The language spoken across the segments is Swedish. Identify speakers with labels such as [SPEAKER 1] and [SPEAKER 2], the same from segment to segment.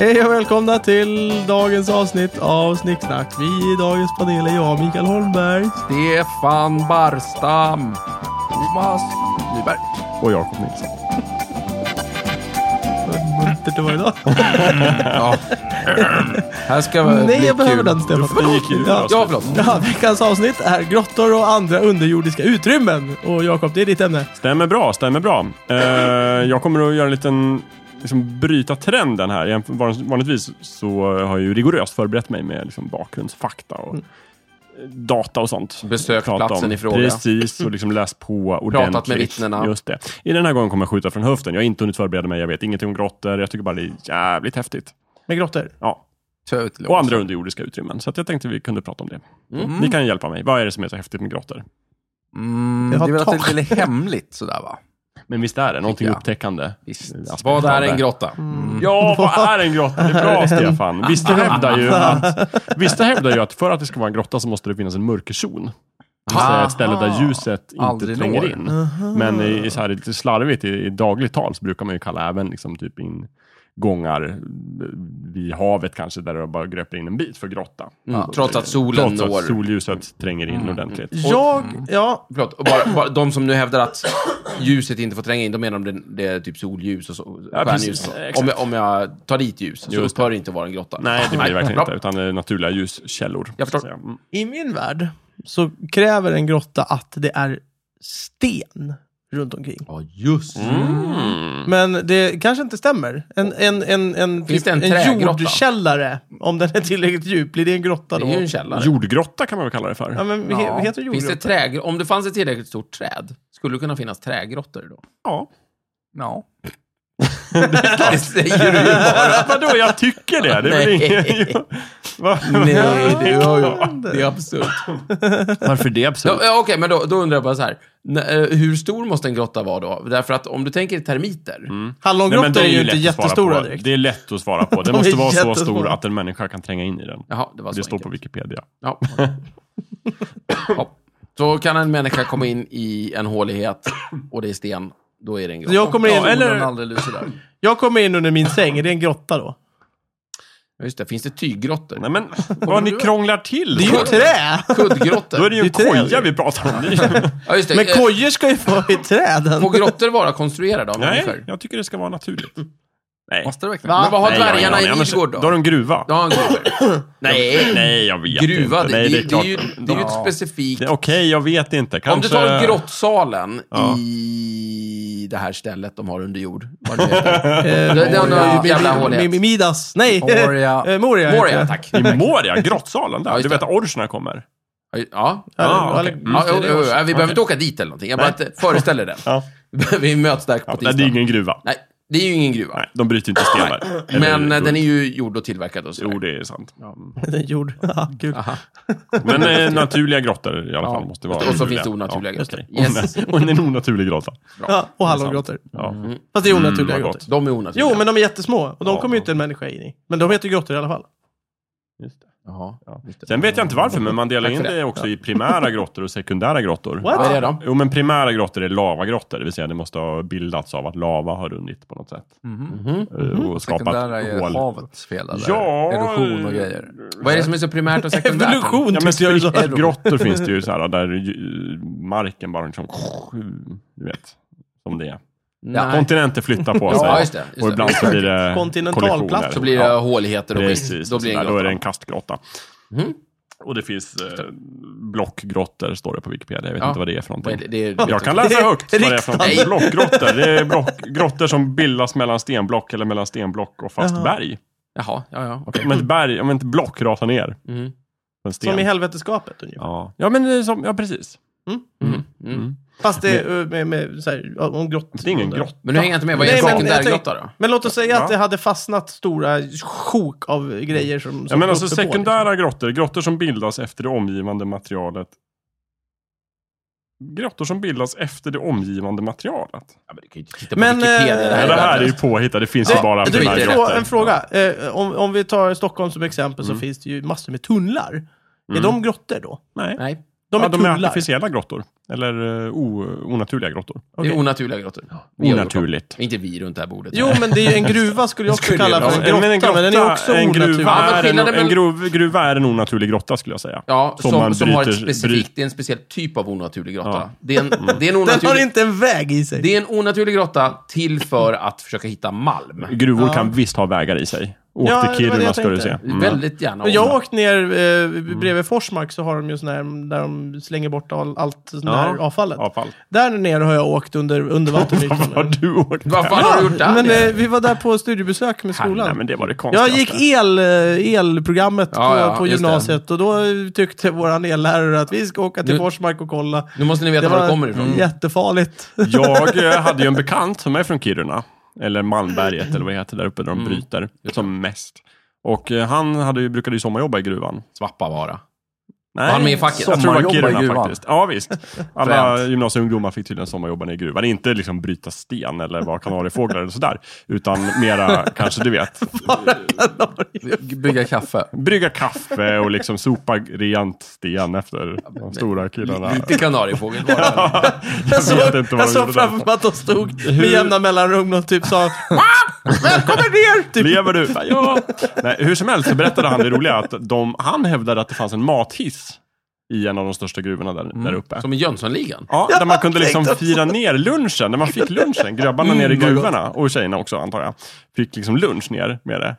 [SPEAKER 1] Hej och välkomna till dagens avsnitt av Snicksnack. Vi i dagens panel är jag, Mikael Holmberg.
[SPEAKER 2] Stefan Barstam. Thomas Nyberg.
[SPEAKER 3] Och Jakob Nilsson.
[SPEAKER 1] Vad muntert det var idag.
[SPEAKER 2] Ja. Här ska vi
[SPEAKER 1] Nej,
[SPEAKER 2] bli
[SPEAKER 1] jag behöver
[SPEAKER 2] kul.
[SPEAKER 1] den Stefan.
[SPEAKER 3] Det gick ju
[SPEAKER 1] Ja.
[SPEAKER 3] bra.
[SPEAKER 2] Ja, förlåt.
[SPEAKER 1] Ja, veckans avsnitt är grottor och andra underjordiska utrymmen. Och Jakob, det är ditt ämne.
[SPEAKER 3] Stämmer bra, stämmer bra. Eh, jag kommer att göra en liten, liksom bryta trenden här. Jag, van- vanligtvis så har jag ju rigoröst förberett mig med liksom bakgrundsfakta och eh, data och sånt.
[SPEAKER 2] Besökt
[SPEAKER 3] Prata om.
[SPEAKER 2] platsen i fråga.
[SPEAKER 3] Precis, och liksom läst på ordentligt.
[SPEAKER 2] med vittnena.
[SPEAKER 3] Just det. I den här gången kommer jag skjuta från höften. Jag har inte hunnit förbereda mig, jag vet ingenting om grottor. Jag tycker bara det är jävligt häftigt.
[SPEAKER 1] Med grottor.
[SPEAKER 3] Ja.
[SPEAKER 2] Tja ut, Lås.
[SPEAKER 3] Och andra underjordiska utrymmen. Så att jag tänkte vi kunde prata om det. Ni kan hjälpa mig. Vad är det som är så häftigt med grottor?
[SPEAKER 2] Mm, det
[SPEAKER 1] Jag har
[SPEAKER 2] är väl att
[SPEAKER 1] tak.
[SPEAKER 2] det är lite hemligt sådär va?
[SPEAKER 3] Men visst är det någonting
[SPEAKER 2] Tycker jag.
[SPEAKER 3] upptäckande?
[SPEAKER 2] Visst.
[SPEAKER 1] Mm,
[SPEAKER 3] Aspekt
[SPEAKER 2] Vad är
[SPEAKER 3] av det.
[SPEAKER 2] en grotta? Mm,
[SPEAKER 3] Mm. Ja, vad är en grotta? Det är bra Stefan. Vissa hävdar ju att, vissa hävdar ju att för att det ska vara en grotta så måste det finnas en mörkerzon. Det vill säga ett ställe där ljuset inte
[SPEAKER 2] Ah, Aldrig
[SPEAKER 3] tränger
[SPEAKER 2] når.
[SPEAKER 3] in. Men i, i så här, lite slarvigt i, i dagligt tal så brukar man ju kalla även liksom typ ingångar vid havet kanske där det bara gröper in en bit för grotta.
[SPEAKER 2] Mm. Ja, trots att solen
[SPEAKER 3] Trots
[SPEAKER 2] når. Mm.
[SPEAKER 3] att solljuset tränger in ordentligt.
[SPEAKER 1] Jag, ja,
[SPEAKER 2] Förlåt, och bara, bara, de som nu hävdar att ljuset inte får tränga in, de menar om det, det är typ solljus och så,
[SPEAKER 3] Ja, precis.
[SPEAKER 2] stjärnljus. och så.
[SPEAKER 3] Exakt.
[SPEAKER 2] om, jag, om jag tar dit ljus så
[SPEAKER 3] Just
[SPEAKER 2] upphör det inte att vara en grotta.
[SPEAKER 3] Nej, det blir det verkligen
[SPEAKER 2] bra.
[SPEAKER 3] inte. Utan det är naturliga ljuskällor.
[SPEAKER 2] Jag
[SPEAKER 3] så att
[SPEAKER 2] förstår.
[SPEAKER 3] säga. Mm.
[SPEAKER 1] i min värld så kräver en grotta att det är sten runt omkring.
[SPEAKER 2] Ja, just
[SPEAKER 3] Mm.
[SPEAKER 2] Mm.
[SPEAKER 1] Men det kanske inte stämmer. En, en, en, en,
[SPEAKER 2] Finns det en
[SPEAKER 1] en
[SPEAKER 2] trägrotta?
[SPEAKER 1] jordkällare, om den är tillräckligt djup, blir det en grotta
[SPEAKER 2] Det
[SPEAKER 1] då?
[SPEAKER 2] är ju en källare.
[SPEAKER 3] Jordgrotta kan man väl kalla det för.
[SPEAKER 1] Ja, men he-
[SPEAKER 2] Ja.
[SPEAKER 1] heter det
[SPEAKER 2] Finns det
[SPEAKER 1] jordgrotta?
[SPEAKER 2] träg... Om det fanns ett tillräckligt stort träd, skulle det kunna finnas trägrottor då?
[SPEAKER 3] Ja.
[SPEAKER 2] Ja. det säger du ju bara.
[SPEAKER 3] Vadå, jag tycker det? Det är väl
[SPEAKER 2] Nej.
[SPEAKER 3] ingen... Va?
[SPEAKER 2] Nej, det är ju...
[SPEAKER 1] Händer?
[SPEAKER 2] Det är absurt.
[SPEAKER 3] Varför det
[SPEAKER 2] Ja,
[SPEAKER 3] absolut?
[SPEAKER 2] ja, Okej, men då, då undrar jag bara så här. N- eh, hur stor måste en grotta vara då? Därför att om du tänker termiter,
[SPEAKER 1] Mm. Hallongrottor är, ju inte
[SPEAKER 3] lätt att svara
[SPEAKER 1] jättestora
[SPEAKER 3] på.
[SPEAKER 1] direkt.
[SPEAKER 3] Det är lätt att svara på. Den
[SPEAKER 1] De är
[SPEAKER 3] måste vara så
[SPEAKER 1] jättestora.
[SPEAKER 3] stor att en människa kan tränga in i den.
[SPEAKER 2] Jaha, det var så
[SPEAKER 3] det står
[SPEAKER 2] enkelt.
[SPEAKER 3] på Wikipedia.
[SPEAKER 2] Ja. ja. Så kan en människa komma in i en hålighet och det är sten, då är det en grotta.
[SPEAKER 1] Jag kommer in-
[SPEAKER 2] ja,
[SPEAKER 1] eller-
[SPEAKER 2] eller... aldrig lyser där.
[SPEAKER 1] Jag kommer in under min säng, är det en grotta då?
[SPEAKER 2] Ja, Just det, finns det tyggrottor?
[SPEAKER 3] Nej men, vad ni krånglar till!
[SPEAKER 1] Det är ju trä!
[SPEAKER 2] Kuddgrottor?
[SPEAKER 3] Då är det ju en
[SPEAKER 1] Det är trä.
[SPEAKER 3] koja vi pratar om. Det är ju-
[SPEAKER 2] Ja, just det.
[SPEAKER 1] Men
[SPEAKER 2] Eh,
[SPEAKER 1] kojor ska ju vara i träden.
[SPEAKER 2] Får grottor vara konstruerade av
[SPEAKER 3] Nej,
[SPEAKER 2] människor?
[SPEAKER 3] jag tycker det ska vara naturligt. Nej.
[SPEAKER 2] Måste det verkligen?
[SPEAKER 1] Va?
[SPEAKER 2] Men vad har
[SPEAKER 3] Nej, jag
[SPEAKER 2] dvärgarna
[SPEAKER 3] har ingen
[SPEAKER 2] i
[SPEAKER 3] aning. Annars-
[SPEAKER 2] Midgård då?
[SPEAKER 3] Då har de gruva.
[SPEAKER 2] Då har han gruvor. Nej,
[SPEAKER 3] Nej, jag vet
[SPEAKER 2] gruva,
[SPEAKER 3] inte.
[SPEAKER 2] det, det,
[SPEAKER 3] Nej, det
[SPEAKER 2] det,
[SPEAKER 3] är klart.
[SPEAKER 2] är ju, det är ju ett specifikt...
[SPEAKER 3] Det är Okej, jag vet inte. Kanske...
[SPEAKER 2] Om du tar grottsalen
[SPEAKER 3] Ja.
[SPEAKER 2] i det här stället de har under jord. Vad det heter.
[SPEAKER 1] Eh,
[SPEAKER 2] det
[SPEAKER 1] Moria.
[SPEAKER 2] är någon jävla
[SPEAKER 1] Mi-
[SPEAKER 2] hålighet.
[SPEAKER 1] Mi- Mi- Midas. Nej!
[SPEAKER 2] Moria.
[SPEAKER 1] Eh, Moria.
[SPEAKER 2] Moria, tack.
[SPEAKER 3] I Moria, grottsalen där.
[SPEAKER 2] Ja, just
[SPEAKER 3] du vet
[SPEAKER 2] det.
[SPEAKER 3] att orcherna kommer.
[SPEAKER 2] Ja,
[SPEAKER 1] Ja,
[SPEAKER 3] Ah,
[SPEAKER 1] eller-
[SPEAKER 3] okej.
[SPEAKER 2] Ja, jo, jo, jo. Vi
[SPEAKER 1] Ja,
[SPEAKER 2] behöver inte åka dit eller någonting. Jag bara att- föreställer det.
[SPEAKER 3] Ja.
[SPEAKER 2] Vi möts där på
[SPEAKER 3] Ja, nej, det är
[SPEAKER 2] tisdag.
[SPEAKER 3] ingen gruva.
[SPEAKER 2] Nej, det är ju ingen gruva.
[SPEAKER 3] Nej, de bryter inte stenar. Eller-
[SPEAKER 2] Men eh, den är ju gjord och tillverkad och
[SPEAKER 3] Jo,
[SPEAKER 2] sådär.
[SPEAKER 3] det är sant.
[SPEAKER 1] Den är Jord. Ja, kul.
[SPEAKER 2] Aha.
[SPEAKER 3] Men eh, naturliga grottor i alla
[SPEAKER 2] Ja.
[SPEAKER 3] fall måste vara
[SPEAKER 2] Och så finns det onaturliga
[SPEAKER 3] Ja,
[SPEAKER 2] grottor.
[SPEAKER 3] okej.
[SPEAKER 2] Yes.
[SPEAKER 3] Och en- Och en onaturlig grotta.
[SPEAKER 1] Ja, och hallongrottor.
[SPEAKER 3] Ja.
[SPEAKER 1] Fast det är onaturliga
[SPEAKER 3] Mm, vad
[SPEAKER 1] grottor.
[SPEAKER 3] gott.
[SPEAKER 2] De är onaturliga.
[SPEAKER 1] Jo, men de är jättesmå. Och de
[SPEAKER 3] Ja.
[SPEAKER 1] kommer ju inte en människa in i. Men de heter grottor i alla fall.
[SPEAKER 3] Just det.
[SPEAKER 2] Jaha.
[SPEAKER 3] Ja.
[SPEAKER 2] Just det.
[SPEAKER 3] Sen vet jag inte varför, men man delar
[SPEAKER 2] Tack
[SPEAKER 3] in
[SPEAKER 2] för det.
[SPEAKER 3] det också i primära grottor och sekundära grottor.
[SPEAKER 1] What?
[SPEAKER 2] Vad är det då?
[SPEAKER 3] Jo, men primära grottor är lavagrottor, det vill säga det måste ha bildats av att lava har runnit på något sätt.
[SPEAKER 2] Mhm.
[SPEAKER 3] Eh, Och skapat
[SPEAKER 2] Sekundära är
[SPEAKER 3] hål.
[SPEAKER 2] havets fel, eller?
[SPEAKER 3] Ja,
[SPEAKER 2] Erosion och
[SPEAKER 3] eh,
[SPEAKER 2] grejer. Vad är det som är så primärt och sekundärt?
[SPEAKER 1] Evolution
[SPEAKER 3] Ja, men
[SPEAKER 1] tycker jag är så.
[SPEAKER 3] grottor finns det ju så här, där ju- marken bara liksom, du vet, som det är.
[SPEAKER 2] Nej.
[SPEAKER 3] Kontinenter flyttar på sig.
[SPEAKER 2] Ja, just det. Just
[SPEAKER 3] och ibland
[SPEAKER 2] det.
[SPEAKER 3] så blir det
[SPEAKER 1] Kontinentalplatt.
[SPEAKER 3] kollisioner.
[SPEAKER 2] Så blir det
[SPEAKER 3] Ja,
[SPEAKER 2] håligheter och
[SPEAKER 3] precis.
[SPEAKER 2] skit. Då blir det en
[SPEAKER 3] Sådär, då är det
[SPEAKER 2] grotta.
[SPEAKER 3] en kastgrotta.
[SPEAKER 2] Mhm.
[SPEAKER 3] Och det finns eh, blockgrottor, står det på Wikipedia. Jag vet
[SPEAKER 2] Ja.
[SPEAKER 3] inte vad det är för
[SPEAKER 2] Vad är
[SPEAKER 3] någonting.
[SPEAKER 2] det? Det är-
[SPEAKER 3] Jag kan läsa högt vad det är för någonting.
[SPEAKER 2] Nej.
[SPEAKER 3] Blockgrottor. Det är block, grottor som bildas mellan stenblock eller mellan stenblock och fast
[SPEAKER 1] Jaha.
[SPEAKER 3] berg.
[SPEAKER 2] Jaha, ja, ja. okej.
[SPEAKER 3] Om ett, berg, om ett block rasar ner
[SPEAKER 2] Mm.
[SPEAKER 3] på en sten.
[SPEAKER 1] Som i helveteskapet ungefär.
[SPEAKER 3] ja. ja, men det är som, ja, precis.
[SPEAKER 2] Mm. Mm.
[SPEAKER 1] Fast det är eh, med, med, så här, ja, om grott.
[SPEAKER 3] Det är ingen grotta.
[SPEAKER 2] Men nu hänger jag inte med. Vad är
[SPEAKER 1] Nej,
[SPEAKER 2] en
[SPEAKER 1] men
[SPEAKER 2] sekundärgrotta då?
[SPEAKER 1] Men låt oss säga
[SPEAKER 3] Ja.
[SPEAKER 1] att det hade fastnat stora sjok av grejer som... som
[SPEAKER 3] Ja, men alltså
[SPEAKER 1] uppe på, liksom.
[SPEAKER 3] sekundära grottor, grottor som bildas efter det omgivande materialet. Grottor som bildas efter det omgivande materialet.
[SPEAKER 2] Ja, men du kan ju inte titta på
[SPEAKER 1] Men,
[SPEAKER 2] Wikipedia.
[SPEAKER 1] eh,
[SPEAKER 2] Det
[SPEAKER 3] Ja,
[SPEAKER 2] här
[SPEAKER 3] det här är ju
[SPEAKER 2] värdelöst.
[SPEAKER 3] påhittat, det finns
[SPEAKER 2] Ja,
[SPEAKER 3] ju bara
[SPEAKER 2] det
[SPEAKER 1] Du,
[SPEAKER 2] är
[SPEAKER 3] primära
[SPEAKER 2] ju-
[SPEAKER 1] en,
[SPEAKER 3] grottor.
[SPEAKER 1] frå, en fråga. Eh, om, om
[SPEAKER 3] Mm.
[SPEAKER 1] vi tar Stockholm som exempel så finns det ju massor med tunnlar. Är de grottor då?
[SPEAKER 3] Nej.
[SPEAKER 2] Nej.
[SPEAKER 1] De är
[SPEAKER 3] Mm. ja, de är
[SPEAKER 1] kullar.
[SPEAKER 3] artificiella grottor. Eller eh, o, onaturliga grottor.
[SPEAKER 2] Det
[SPEAKER 1] Okej.
[SPEAKER 2] är onaturliga grottor. Vi har gjort dem.
[SPEAKER 3] Onaturligt.
[SPEAKER 2] Inte vi runt det här bordet.
[SPEAKER 1] Jo, men det är ju en gruva skulle jag också
[SPEAKER 2] Skulle
[SPEAKER 1] kalla
[SPEAKER 2] jag
[SPEAKER 1] för en
[SPEAKER 2] vilja
[SPEAKER 1] grotta,
[SPEAKER 3] Men
[SPEAKER 1] men, den är ju också
[SPEAKER 3] en
[SPEAKER 1] onaturlig.
[SPEAKER 3] gruva,
[SPEAKER 2] Ja, men
[SPEAKER 3] är en,
[SPEAKER 2] skillnaden
[SPEAKER 3] en
[SPEAKER 2] med-
[SPEAKER 3] grov, gruva är en onaturlig grotta skulle jag säga.
[SPEAKER 2] Ja, som, som,
[SPEAKER 3] man
[SPEAKER 2] har ett
[SPEAKER 3] bryter-
[SPEAKER 2] specifikt,
[SPEAKER 3] bryt-
[SPEAKER 2] det är en speciell typ av onaturlig grotta.
[SPEAKER 3] Ja. Mm.
[SPEAKER 2] Det, är en, det, är en
[SPEAKER 1] Den har
[SPEAKER 2] onaturlig,
[SPEAKER 1] inte en väg i sig.
[SPEAKER 2] det är en onaturlig grotta till för att försöka hitta malm.
[SPEAKER 3] Gruvor
[SPEAKER 1] Ja.
[SPEAKER 3] kan visst ha vägar i sig. Åk
[SPEAKER 1] Ja, det var
[SPEAKER 3] till
[SPEAKER 1] det
[SPEAKER 3] Kiruna
[SPEAKER 1] jag
[SPEAKER 3] ska du se.
[SPEAKER 1] tänkte.
[SPEAKER 3] Mm.
[SPEAKER 2] Väldigt gärna.
[SPEAKER 1] Men jag
[SPEAKER 2] om-
[SPEAKER 1] har åkt ner eh, bredvid Forsmark så har de ju sån här, där de slänger bort all, allt sånt där
[SPEAKER 3] Ja,
[SPEAKER 1] avfallet.
[SPEAKER 3] Avfall.
[SPEAKER 1] Där nere har jag åkt under, under
[SPEAKER 3] Varför har
[SPEAKER 1] vattenytan.
[SPEAKER 3] du åkt
[SPEAKER 2] Vad
[SPEAKER 3] där?
[SPEAKER 2] fan har du gjort där?
[SPEAKER 1] men eh, vi var där på studiebesök med skolan.
[SPEAKER 3] Nej, men det var det
[SPEAKER 1] Jag
[SPEAKER 3] konstigaste.
[SPEAKER 1] gick el, eh, elprogrammet
[SPEAKER 2] Ja,
[SPEAKER 1] på,
[SPEAKER 2] ja,
[SPEAKER 1] på
[SPEAKER 2] just det.
[SPEAKER 1] gymnasiet och då eh, tyckte våran ellärare att vi ska åka till
[SPEAKER 2] Nu-
[SPEAKER 1] Forsmark och kolla.
[SPEAKER 2] nu måste ni veta var det kommer ifrån. Mm.
[SPEAKER 3] Mm.
[SPEAKER 1] jättefarligt.
[SPEAKER 3] Jag eh, hade ju en bekant som är från Kiruna, eller Malmberget eller vad det heter där uppe där
[SPEAKER 1] Mm.
[SPEAKER 3] de bryter som mest. Och eh, han hade ju, brukade ju sommarjobba i gruvan.
[SPEAKER 2] Svappavaara.
[SPEAKER 3] Nej,
[SPEAKER 2] Var han med i facket?
[SPEAKER 3] Jag tror det var
[SPEAKER 4] Sommarjobba i
[SPEAKER 3] Kiruna
[SPEAKER 4] gruvan.
[SPEAKER 3] faktiskt. Ja, visst. Alla
[SPEAKER 2] Fränt.
[SPEAKER 3] gymnasieungdomar fick tydligen sommarjobba i gruvan. Inte liksom bryta sten eller vara kanariefåglar eller sådär. Utan mera, kanske du vet,
[SPEAKER 2] Bygga kaffe.
[SPEAKER 3] brygga kaffe och liksom sopa rent sten efter de stora killarna.
[SPEAKER 2] Lite kanariefågel var det. väl?
[SPEAKER 1] Jag såg,
[SPEAKER 3] vet inte
[SPEAKER 1] jag
[SPEAKER 3] vad de
[SPEAKER 1] såg
[SPEAKER 3] gjorde där.
[SPEAKER 1] framför mig att de stod med jämna mellanrum och typ sa "Va? Välkommen ner! Typ.
[SPEAKER 3] Lever du? Ja. Nej, hur som helst så berättade han det roliga att de, han hävdade att det fanns en mathiss i en av de största gruvorna där, där uppe.
[SPEAKER 2] Som i Jönssonligan.
[SPEAKER 3] Ja, där man kunde
[SPEAKER 1] Jag
[SPEAKER 3] liksom
[SPEAKER 1] tänkte också.
[SPEAKER 3] fira ner lunchen, när man fick lunchen. Grabbarna nere i gruvorna, och tjejerna också antar jag, fick liksom lunch ner med det.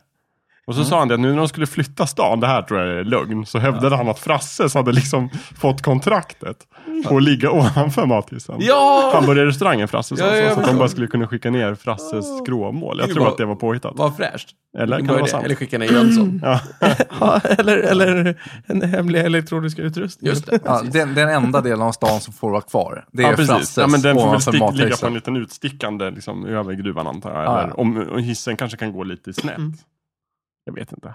[SPEAKER 3] Och så sa han det att nu när de skulle flytta stan, det här tror jag är lögn, så hävdade han att Frasses hade liksom fått kontraktet på att ligga ovanför mathissen.
[SPEAKER 2] Ja!
[SPEAKER 3] Hamburgerrestaurangen Frasses
[SPEAKER 2] Ja,
[SPEAKER 3] alltså,
[SPEAKER 2] ja,
[SPEAKER 3] så att
[SPEAKER 2] förstår.
[SPEAKER 3] de bara skulle kunna skicka ner Frasses skråmål. Jag
[SPEAKER 2] Det
[SPEAKER 3] tror
[SPEAKER 2] var-
[SPEAKER 3] att det var påhittat.
[SPEAKER 2] Vad fräscht.
[SPEAKER 3] Eller kan det
[SPEAKER 2] Vad är
[SPEAKER 3] vara sant?
[SPEAKER 2] Eller skicka ner
[SPEAKER 4] Mm.
[SPEAKER 2] Jönsson.
[SPEAKER 1] Ja, eller, eller en hemlig elektronisk utrustning.
[SPEAKER 2] Just det.
[SPEAKER 4] Ja, den, den enda delen av stan som får vara kvar, det är
[SPEAKER 3] Ja, precis.
[SPEAKER 4] Frasses
[SPEAKER 3] Ja, men den får väl
[SPEAKER 4] ovanför
[SPEAKER 3] stick, ligga på en
[SPEAKER 4] mathusen.
[SPEAKER 3] liten utstickande liksom, över gruvan antar jag.
[SPEAKER 4] Ja,
[SPEAKER 3] Eller,
[SPEAKER 4] ja.
[SPEAKER 3] om, om hissen kanske kan gå lite snett.
[SPEAKER 2] Mm.
[SPEAKER 3] Jag vet inte.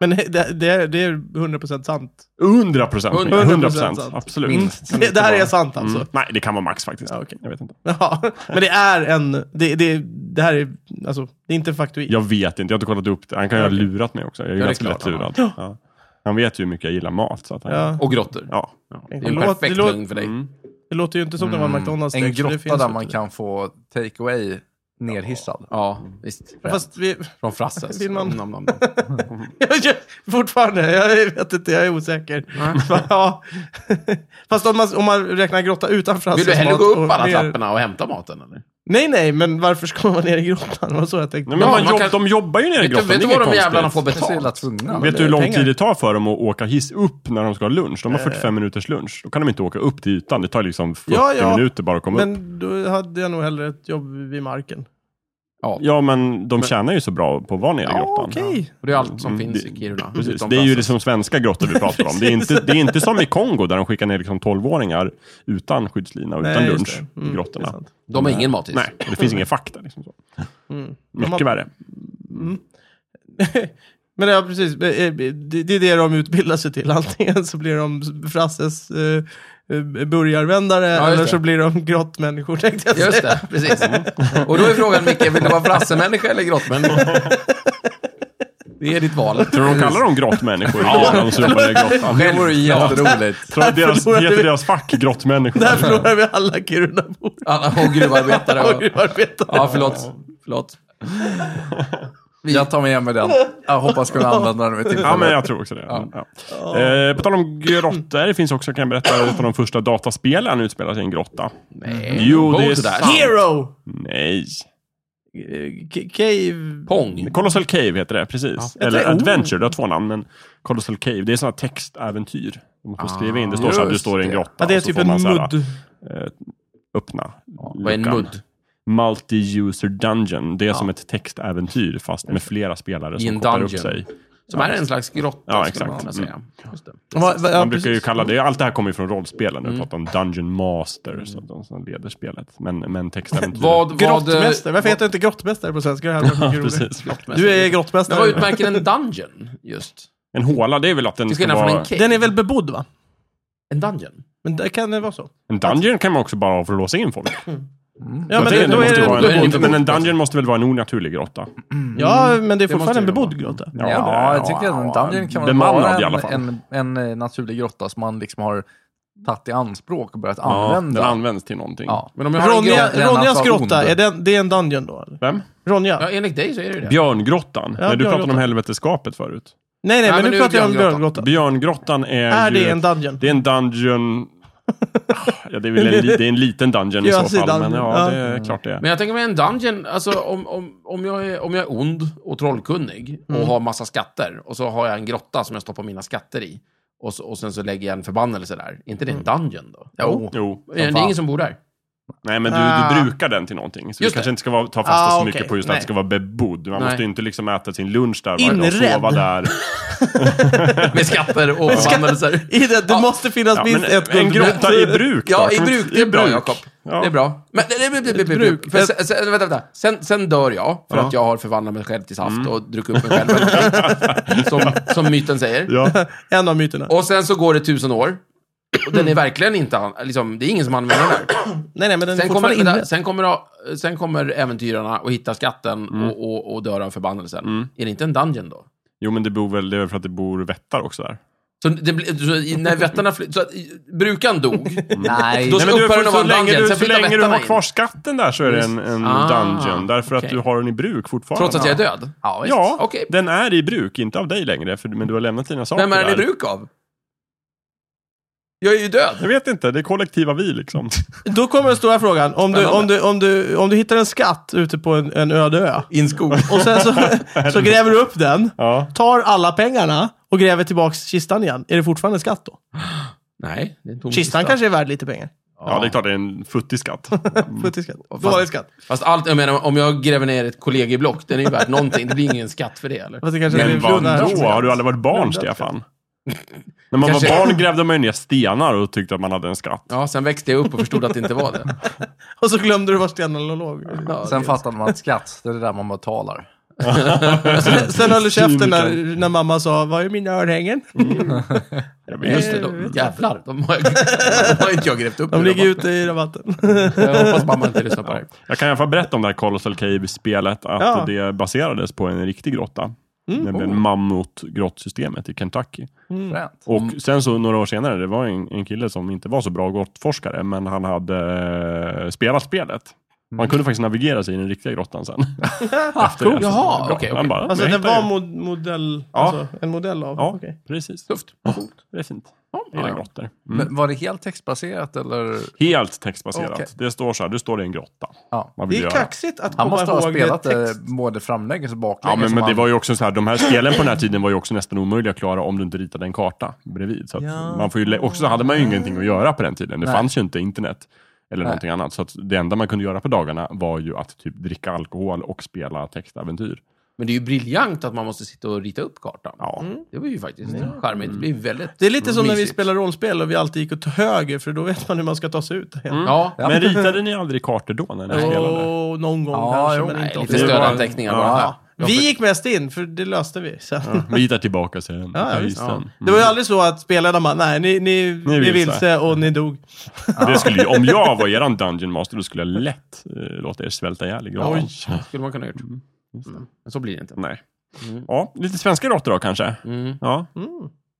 [SPEAKER 1] Men det, det, är- det är 100% sant.
[SPEAKER 3] 100 procent. 100
[SPEAKER 1] 100%
[SPEAKER 3] procent.
[SPEAKER 2] alltså.
[SPEAKER 1] sant.
[SPEAKER 3] Absolut. Kan
[SPEAKER 1] Det,
[SPEAKER 3] inte
[SPEAKER 1] det här
[SPEAKER 3] vara-
[SPEAKER 1] är sant alltså.
[SPEAKER 3] Mm. Nej, det kan vara max faktiskt.
[SPEAKER 1] Ja, okej.
[SPEAKER 3] Jag vet inte.
[SPEAKER 1] Ja, men det är en... Det, det, det här är... Alltså, det är inte faktuellt.
[SPEAKER 3] Jag vet inte. Jag har inte kollat upp det. Han kan ju ha lurat mig också. Jag är ju
[SPEAKER 2] Ja, det är
[SPEAKER 3] ganska
[SPEAKER 2] klart
[SPEAKER 3] lätt
[SPEAKER 2] han
[SPEAKER 3] lurad. Ja. Han vet ju hur mycket jag gillar mat. Så att han, ja.
[SPEAKER 1] Ja.
[SPEAKER 2] Och grottor. Det är en
[SPEAKER 1] Det låter-
[SPEAKER 2] perfekt
[SPEAKER 1] det låter-
[SPEAKER 2] lögn för dig.
[SPEAKER 3] Mm.
[SPEAKER 1] Det låter ju inte som det
[SPEAKER 2] Mm.
[SPEAKER 1] var en McDonalds
[SPEAKER 4] En
[SPEAKER 1] text, för det
[SPEAKER 4] grotta
[SPEAKER 1] finns
[SPEAKER 4] där
[SPEAKER 1] ju
[SPEAKER 4] man
[SPEAKER 1] inte.
[SPEAKER 4] kan få take away nerhissad.
[SPEAKER 2] Ja, visst.
[SPEAKER 1] Fast vi...
[SPEAKER 2] Från Frasses.
[SPEAKER 1] Vill man-
[SPEAKER 2] Nom, nom, nom.
[SPEAKER 1] Jag, jag, fortfarande, jag vet inte, jag är osäker.
[SPEAKER 2] Mm.
[SPEAKER 1] Ja. Fast om man, om man räknar grotta utanför Hasses
[SPEAKER 2] Vill du hellre
[SPEAKER 1] mat
[SPEAKER 2] gå upp
[SPEAKER 1] och
[SPEAKER 2] alla
[SPEAKER 1] ner-
[SPEAKER 2] trapporna och hämta maten? Eller?
[SPEAKER 1] Nej, nej, men varför ska man vara nere i grottan? Det var så jag tänkte.
[SPEAKER 3] Nej, men
[SPEAKER 2] Ja,
[SPEAKER 3] man
[SPEAKER 2] man
[SPEAKER 3] jobb,
[SPEAKER 2] kan-
[SPEAKER 3] De jobbar ju nere i
[SPEAKER 2] Vet du,
[SPEAKER 3] grottan.
[SPEAKER 2] vet
[SPEAKER 3] det
[SPEAKER 2] du
[SPEAKER 3] är
[SPEAKER 2] vad
[SPEAKER 3] inget
[SPEAKER 2] de jävlarna får
[SPEAKER 3] konstigt.
[SPEAKER 4] Kanske är illa
[SPEAKER 2] betalt?
[SPEAKER 4] tvungna.
[SPEAKER 3] Vet du hur
[SPEAKER 1] det är
[SPEAKER 3] lång
[SPEAKER 1] pengar.
[SPEAKER 3] tid det tar för dem att åka hiss upp när de ska ha lunch? De har 45 minuters lunch. Då kan de inte åka upp till ytan. Det tar liksom 40
[SPEAKER 1] Ja, ja.
[SPEAKER 3] minuter bara att komma upp.
[SPEAKER 1] Men då hade jag nog hellre ett jobb vid marken.
[SPEAKER 3] Ja, men de tjänar ju så bra på att vara nere i
[SPEAKER 1] Ja,
[SPEAKER 3] grottan.
[SPEAKER 1] okej.
[SPEAKER 2] Och det är allt som
[SPEAKER 3] Mm,
[SPEAKER 2] finns
[SPEAKER 3] det-
[SPEAKER 2] i Kiruna.
[SPEAKER 3] Precis.
[SPEAKER 2] utom
[SPEAKER 3] Det är ju det
[SPEAKER 2] Frasses.
[SPEAKER 3] som svenska grottor vi pratar om. Det är, inte, det är inte som i Kongo där de skickar ner liksom 12-åringar utan skyddslina och utan
[SPEAKER 1] Nej, just
[SPEAKER 3] lunch
[SPEAKER 1] det. Mm,
[SPEAKER 3] i
[SPEAKER 1] det är
[SPEAKER 3] grottorna.
[SPEAKER 1] sant.
[SPEAKER 2] De har ingen mathiss.
[SPEAKER 3] Nej, och det finns ingen fakta. Liksom så. Mycket
[SPEAKER 1] Mm. har-
[SPEAKER 3] värre.
[SPEAKER 1] Men ja, precis. Eh, eh, Det det är det de utbildar sig till. Antingen så blir de Frasses eh, eh, burgarvändare
[SPEAKER 2] Ja, just
[SPEAKER 1] eller
[SPEAKER 2] det.
[SPEAKER 1] så blir de grottmänniskor tänkte jag
[SPEAKER 2] Just
[SPEAKER 1] säga.
[SPEAKER 2] det, precis. Och då är frågan, Micke, vill du vara frassemänniska eller grottmänniska? Det är ditt val.
[SPEAKER 3] Tror du de kallar dem grottmänniskor? ja, de som jobbar i grottan.
[SPEAKER 4] Det vore ju jätteroligt.
[SPEAKER 3] Tror du deras,
[SPEAKER 1] förlorar vi-
[SPEAKER 3] heter deras fack grottmänniskor?
[SPEAKER 1] Där förlorar vi alla Kirunabor
[SPEAKER 2] Alla och gruvarbetare.
[SPEAKER 1] och
[SPEAKER 2] Och...
[SPEAKER 1] gruvarbetare.
[SPEAKER 2] Ja, förlåt. Förlåt.
[SPEAKER 4] Jag tar med mig den. Jag hoppas kunna använda den vid tillfälle.
[SPEAKER 3] Ja, men jag tror också det. Mm, Ja. Eh, på tal om grottor, det finns också, kan jag berätta, ett av de första dataspelen utspelar sig i en grotta.
[SPEAKER 2] Nej.
[SPEAKER 3] Jo, det är
[SPEAKER 2] Both that.
[SPEAKER 3] sant.
[SPEAKER 1] Hero!
[SPEAKER 3] Nej.
[SPEAKER 1] Eh, K- Cave...
[SPEAKER 2] Pong.
[SPEAKER 3] Colossal Cave heter det, precis. Eller
[SPEAKER 1] tror-
[SPEAKER 3] Adventure, det har två namn. Men Colossal Cave, det är sådana textäventyr. Man får skriva in, det står så här, du
[SPEAKER 4] just
[SPEAKER 3] står i en
[SPEAKER 4] det.
[SPEAKER 3] grotta.
[SPEAKER 1] Ja, det är
[SPEAKER 3] och så
[SPEAKER 1] typ
[SPEAKER 3] får
[SPEAKER 1] en
[SPEAKER 3] man så här,
[SPEAKER 1] mudd.
[SPEAKER 3] eh, Öppna
[SPEAKER 2] Vad är en
[SPEAKER 3] luckan.
[SPEAKER 2] mudd?
[SPEAKER 3] Multi-user dungeon. Det är som ett textäventyr fast med flera spelare
[SPEAKER 2] I
[SPEAKER 3] som
[SPEAKER 2] en
[SPEAKER 3] kopplar upp
[SPEAKER 2] dungeon.
[SPEAKER 3] sig.
[SPEAKER 2] Som är en slags grotta,
[SPEAKER 3] Ja,
[SPEAKER 2] skulle man kunna
[SPEAKER 3] exakt.
[SPEAKER 2] säga. Just det.
[SPEAKER 1] Va- va- ja,
[SPEAKER 3] Man brukar ju
[SPEAKER 1] precis.
[SPEAKER 3] kalla det, allt det här kommer ju från rollspelen. Nu pratar om Dungeon Master, så att de som leder spelet. Men, men textäventyr.
[SPEAKER 2] Vad, vad,
[SPEAKER 1] Grottmästare. Varför heter det inte grottmästare på svenska? Det här var mycket roligt.
[SPEAKER 3] eh, Precis.
[SPEAKER 1] Du är grottmästare.
[SPEAKER 2] Men vad utmärker en dungeon, just?
[SPEAKER 3] En håla, det är väl att den
[SPEAKER 2] Till
[SPEAKER 3] ska
[SPEAKER 2] skillnad från en
[SPEAKER 3] vara...
[SPEAKER 2] cave.
[SPEAKER 1] Den är väl bebodd va?
[SPEAKER 2] En dungeon?
[SPEAKER 1] Men där kan det vara så.
[SPEAKER 3] En dungeon kan man också bara ha för att låsa in folk.
[SPEAKER 1] Ja, men,
[SPEAKER 3] Jag tänker
[SPEAKER 1] det,
[SPEAKER 3] att
[SPEAKER 1] då är
[SPEAKER 3] måste
[SPEAKER 1] det,
[SPEAKER 3] vara
[SPEAKER 2] då är det
[SPEAKER 3] en,
[SPEAKER 2] inte
[SPEAKER 3] men en
[SPEAKER 2] bebodd.
[SPEAKER 3] dungeon måste väl vara en onaturlig grotta?
[SPEAKER 1] ja, men det är fortfarande
[SPEAKER 2] måste
[SPEAKER 1] en
[SPEAKER 2] det vara.
[SPEAKER 1] bebodd grotta.
[SPEAKER 4] Ja,
[SPEAKER 3] det-
[SPEAKER 4] jag tycker att en dungeon kan väl
[SPEAKER 3] Bemannad i
[SPEAKER 4] vara
[SPEAKER 3] alla
[SPEAKER 4] en,
[SPEAKER 3] fall.
[SPEAKER 4] en, en eh, naturlig grotta som man liksom har tagit i anspråk och börjat
[SPEAKER 3] Ja,
[SPEAKER 4] använda.
[SPEAKER 3] den används till någonting.
[SPEAKER 4] Ja.
[SPEAKER 2] Men om jag har en
[SPEAKER 1] Ronja,
[SPEAKER 2] grå...
[SPEAKER 4] grå-
[SPEAKER 1] Ronjas
[SPEAKER 4] grannarnas
[SPEAKER 1] grotta,
[SPEAKER 4] ond.
[SPEAKER 1] är det, det är en dungeon då? Eller?
[SPEAKER 3] Vem?
[SPEAKER 1] Ronja?
[SPEAKER 2] Ja, enligt dig så är det ju det.
[SPEAKER 3] Björngrottan. Nej, du pratade
[SPEAKER 1] björngrottan.
[SPEAKER 3] om helveteskapet förut.
[SPEAKER 1] nej, nej, men, nu pratar jag om björngrottan.
[SPEAKER 3] Björngrottan är
[SPEAKER 1] Är
[SPEAKER 3] ju
[SPEAKER 1] det en
[SPEAKER 3] ett-
[SPEAKER 1] dungeon?
[SPEAKER 3] Det är en dungeon... Ah, ja, det är väl en, li- det är en liten dungeon i
[SPEAKER 1] Ja,
[SPEAKER 3] så fall.
[SPEAKER 1] sidan.
[SPEAKER 3] Men ja,
[SPEAKER 1] Ja.
[SPEAKER 3] det är klart det är.
[SPEAKER 2] Men jag tänker mig en dungeon, alltså om, om, om, jag är, om jag är ond och trollkunnig och
[SPEAKER 1] Mm.
[SPEAKER 2] har massa skatter och så har jag en grotta som jag stoppar mina skatter i och, så, och sen så lägger jag en förbannelse där. Är inte det en
[SPEAKER 1] Mm.
[SPEAKER 2] dungeon då?
[SPEAKER 4] Jo.
[SPEAKER 3] Jo.
[SPEAKER 2] Det är
[SPEAKER 4] fan.
[SPEAKER 2] ingen som bor där.
[SPEAKER 3] Nej, men du,
[SPEAKER 1] Ah.
[SPEAKER 3] du brukar den till någonting. Så
[SPEAKER 2] Just
[SPEAKER 3] du kanske
[SPEAKER 2] det.
[SPEAKER 3] inte ska vara, ta fasta
[SPEAKER 1] Ah,
[SPEAKER 3] så
[SPEAKER 1] okej.
[SPEAKER 3] mycket på just att
[SPEAKER 1] Nej.
[SPEAKER 3] det ska vara bebodd. Man
[SPEAKER 2] Nej.
[SPEAKER 3] måste ju inte liksom äta sin lunch där varje dag och
[SPEAKER 1] Inredd.
[SPEAKER 3] sova där.
[SPEAKER 2] Med skatter och förbannelser.
[SPEAKER 1] I det, det måste finnas
[SPEAKER 3] Ja,
[SPEAKER 1] minst
[SPEAKER 3] men
[SPEAKER 1] ett
[SPEAKER 3] en
[SPEAKER 1] guld-
[SPEAKER 3] grotta i bruk då.
[SPEAKER 2] Ja, i
[SPEAKER 3] Kan man
[SPEAKER 2] bruk.
[SPEAKER 3] inte-
[SPEAKER 2] Det är bra,
[SPEAKER 3] bruk.
[SPEAKER 2] Jakob.
[SPEAKER 3] Ja.
[SPEAKER 2] Det är bra. Men det, det, det, det, det, bruk. För sen, sen, vänta, vänta. Sen, sen dör jag för
[SPEAKER 3] Ja. Mm.
[SPEAKER 2] att jag har förvandlat mig själv till saft och druckit upp mig själv. eller någonting. som, som myten säger.
[SPEAKER 3] Ja.
[SPEAKER 1] En av myterna.
[SPEAKER 2] Och sen så går det tusen år. Och den är verkligen inte... an- Liksom, det är ingen som använder den här.
[SPEAKER 1] nej, nej, men den är
[SPEAKER 2] Sen kommer,
[SPEAKER 1] fortfarande inne.
[SPEAKER 2] vänta, sen, kommer, sen kommer äventyrarna och hittar skatten
[SPEAKER 3] Mm.
[SPEAKER 2] och, och, och dör av förbannelsen. Är det inte en dungeon då?
[SPEAKER 3] Jo, men det, bor väl, det är väl för att det bor vättar också där.
[SPEAKER 2] Så, det, blir- så i- när vättarna fly- så att i- brukaren dog,
[SPEAKER 4] Nej.
[SPEAKER 2] Då
[SPEAKER 3] Nej, men du,
[SPEAKER 2] upphör den
[SPEAKER 3] för,
[SPEAKER 2] att
[SPEAKER 3] så
[SPEAKER 2] vara en
[SPEAKER 3] länge,
[SPEAKER 2] dungeon,
[SPEAKER 3] du,
[SPEAKER 2] sen
[SPEAKER 3] så
[SPEAKER 2] flyttar
[SPEAKER 3] länge du
[SPEAKER 2] vättarna
[SPEAKER 3] har
[SPEAKER 2] in.
[SPEAKER 3] kvar skatten där så är det en, en
[SPEAKER 2] Ah,
[SPEAKER 3] dungeon. Därför att
[SPEAKER 2] okej.
[SPEAKER 3] du har den i bruk fortfarande.
[SPEAKER 2] trots att jag är död. Ja, visst.
[SPEAKER 3] Ja,
[SPEAKER 2] Okej.
[SPEAKER 3] den är i bruk. Inte av dig längre, för, men du har lämnat dina saker
[SPEAKER 2] Vem är den i
[SPEAKER 3] där.
[SPEAKER 2] bruk av? Jag är ju död.
[SPEAKER 3] Jag vet inte, det är kollektiva vi liksom.
[SPEAKER 1] Då kommer den stora frågan. Om du, om, du, om, du, om du hittar en skatt ute på en, en öde ö
[SPEAKER 2] Inskog.
[SPEAKER 1] och sen så, så gräver du upp den,
[SPEAKER 3] Ja.
[SPEAKER 1] tar alla pengarna och gräver tillbaka kistan igen. Är det fortfarande en skatt då?
[SPEAKER 2] Nej, det är en tom
[SPEAKER 1] Kistan
[SPEAKER 2] kista.
[SPEAKER 1] kanske är värd lite pengar.
[SPEAKER 3] ja, det är klart det är en futtig skatt.
[SPEAKER 1] Futtig skatt.
[SPEAKER 2] Vad fan.
[SPEAKER 1] Dålig skatt.
[SPEAKER 2] Fast allt, jag menar, om jag gräver ner ett kollegieblock, den är ju värt någonting. Det blir ingen skatt för det, eller?
[SPEAKER 1] Fast det kanske
[SPEAKER 3] Men
[SPEAKER 1] blir
[SPEAKER 3] vadå?
[SPEAKER 1] blunda här.
[SPEAKER 3] Har du aldrig varit barn,
[SPEAKER 1] Blunda.
[SPEAKER 3] Stefan? När man
[SPEAKER 2] Kanske-
[SPEAKER 3] var barn grävde man ju ner stenar och tyckte att man hade en skatt.
[SPEAKER 2] Ja, sen växte jag upp och förstod att det inte var det.
[SPEAKER 1] Och så glömde du var stenarna låg.
[SPEAKER 2] Ja,
[SPEAKER 4] Sen
[SPEAKER 2] det-
[SPEAKER 4] fattade man att skatt, det är det där man betalar.
[SPEAKER 1] Sen, sen höll du käften
[SPEAKER 3] Svinkel.
[SPEAKER 1] när, när mamma sa, var är mina örhängen?
[SPEAKER 3] Jag vet.
[SPEAKER 2] Just det, de, jävlar. De har, de har inte jag grävt upp.
[SPEAKER 1] Mm. De
[SPEAKER 2] nu,
[SPEAKER 1] ligger ute i rabatten.
[SPEAKER 2] Jag hoppas mamma inte lyssnar på det här.
[SPEAKER 3] Jag kan i alla fall berätta om det här Colossal Cave-spelet, att
[SPEAKER 1] Ja.
[SPEAKER 3] det baserades på en riktig grotta. Nämligen mammutgrottsystemet i Kentucky.
[SPEAKER 1] Mm.
[SPEAKER 4] Fränt.
[SPEAKER 3] Och sen så några år senare, det var en, en kille som inte var så bra grottforskare, men han hade eh, spelat spelet. Man kunde faktiskt navigera sig i den riktiga grottan sen. Efter det.
[SPEAKER 2] Jaha,
[SPEAKER 3] Så-
[SPEAKER 2] okej,
[SPEAKER 3] han
[SPEAKER 2] okej.
[SPEAKER 3] bara,
[SPEAKER 1] Alltså
[SPEAKER 3] "Jag
[SPEAKER 1] det var
[SPEAKER 3] hittar ju."
[SPEAKER 1] mod, modell,
[SPEAKER 3] Ja.
[SPEAKER 1] alltså, en modell av?
[SPEAKER 3] Ja,
[SPEAKER 1] okej.
[SPEAKER 3] precis.
[SPEAKER 2] Tufft.
[SPEAKER 3] Det är fint.
[SPEAKER 2] ja.
[SPEAKER 3] Hela grottor.
[SPEAKER 4] Men var det helt textbaserat eller?
[SPEAKER 3] Helt textbaserat.
[SPEAKER 4] Okej.
[SPEAKER 3] Det står så här, du står i en grotta.
[SPEAKER 4] Ja.
[SPEAKER 3] Vad
[SPEAKER 1] Det
[SPEAKER 3] vill
[SPEAKER 1] är
[SPEAKER 3] du göra?
[SPEAKER 1] kaxigt att
[SPEAKER 4] Han
[SPEAKER 1] komma
[SPEAKER 4] måste ha
[SPEAKER 1] ihåg
[SPEAKER 4] spelat eh,
[SPEAKER 1] med
[SPEAKER 4] det
[SPEAKER 1] text.
[SPEAKER 4] både framlänges och
[SPEAKER 3] Ja,
[SPEAKER 4] baklänges.
[SPEAKER 3] men,
[SPEAKER 4] som
[SPEAKER 3] men det
[SPEAKER 4] han-
[SPEAKER 3] var ju också så här, de här spelen på den här tiden var ju också nästan omöjliga att klara om du inte ritade en karta bredvid. Så att
[SPEAKER 1] Ja.
[SPEAKER 3] man får ju, lä- också så hade man ju ingenting att göra på den tiden. Det
[SPEAKER 4] Nej.
[SPEAKER 3] fanns ju inte internet eller någonting annat. Så att det enda man kunde göra på dagarna var ju att typ dricka alkohol och spela textäventyr.
[SPEAKER 2] Men det är ju briljant att man måste sitta och rita upp kartan.
[SPEAKER 3] Ja.
[SPEAKER 2] Det var ju faktiskt charmigt. Det blir väldigt
[SPEAKER 1] Mm. Det är lite som när vi
[SPEAKER 2] mysigt.
[SPEAKER 1] spelar rollspel och vi alltid gick åt höger, för då vet man hur man ska ta sig ut.
[SPEAKER 2] Ja,
[SPEAKER 3] Men ritade ni aldrig kartor då när ni spelade?
[SPEAKER 1] Och någon gång
[SPEAKER 4] Ja,
[SPEAKER 1] kanske,
[SPEAKER 4] jo,
[SPEAKER 1] men
[SPEAKER 2] nej,
[SPEAKER 1] inte
[SPEAKER 2] lite
[SPEAKER 1] ofta.
[SPEAKER 3] Det var-
[SPEAKER 2] stödanteckningar bara.
[SPEAKER 4] Ja.
[SPEAKER 2] Ja.
[SPEAKER 1] Vi gick mest in, för det löste vi sen. Ja.
[SPEAKER 3] Vi hittar tillbaka sen.
[SPEAKER 1] Ja,
[SPEAKER 3] Ja,
[SPEAKER 1] visst.
[SPEAKER 3] just sen.
[SPEAKER 1] Det var ju aldrig så att spelarna bara, nej, ni, ni, ni,
[SPEAKER 3] vilse."
[SPEAKER 1] vilse och ni dog.
[SPEAKER 3] Det skulle ju, om jag var eran Dungeon Master, då skulle jag lätt eh, låta er svälta ihjäl i grottan.
[SPEAKER 2] Oj, skulle man kunna ha gjort. Mm. Men så blir det inte.
[SPEAKER 3] Nej. Ja, lite svenska grottor då kanske?
[SPEAKER 2] Mm.
[SPEAKER 3] Ja.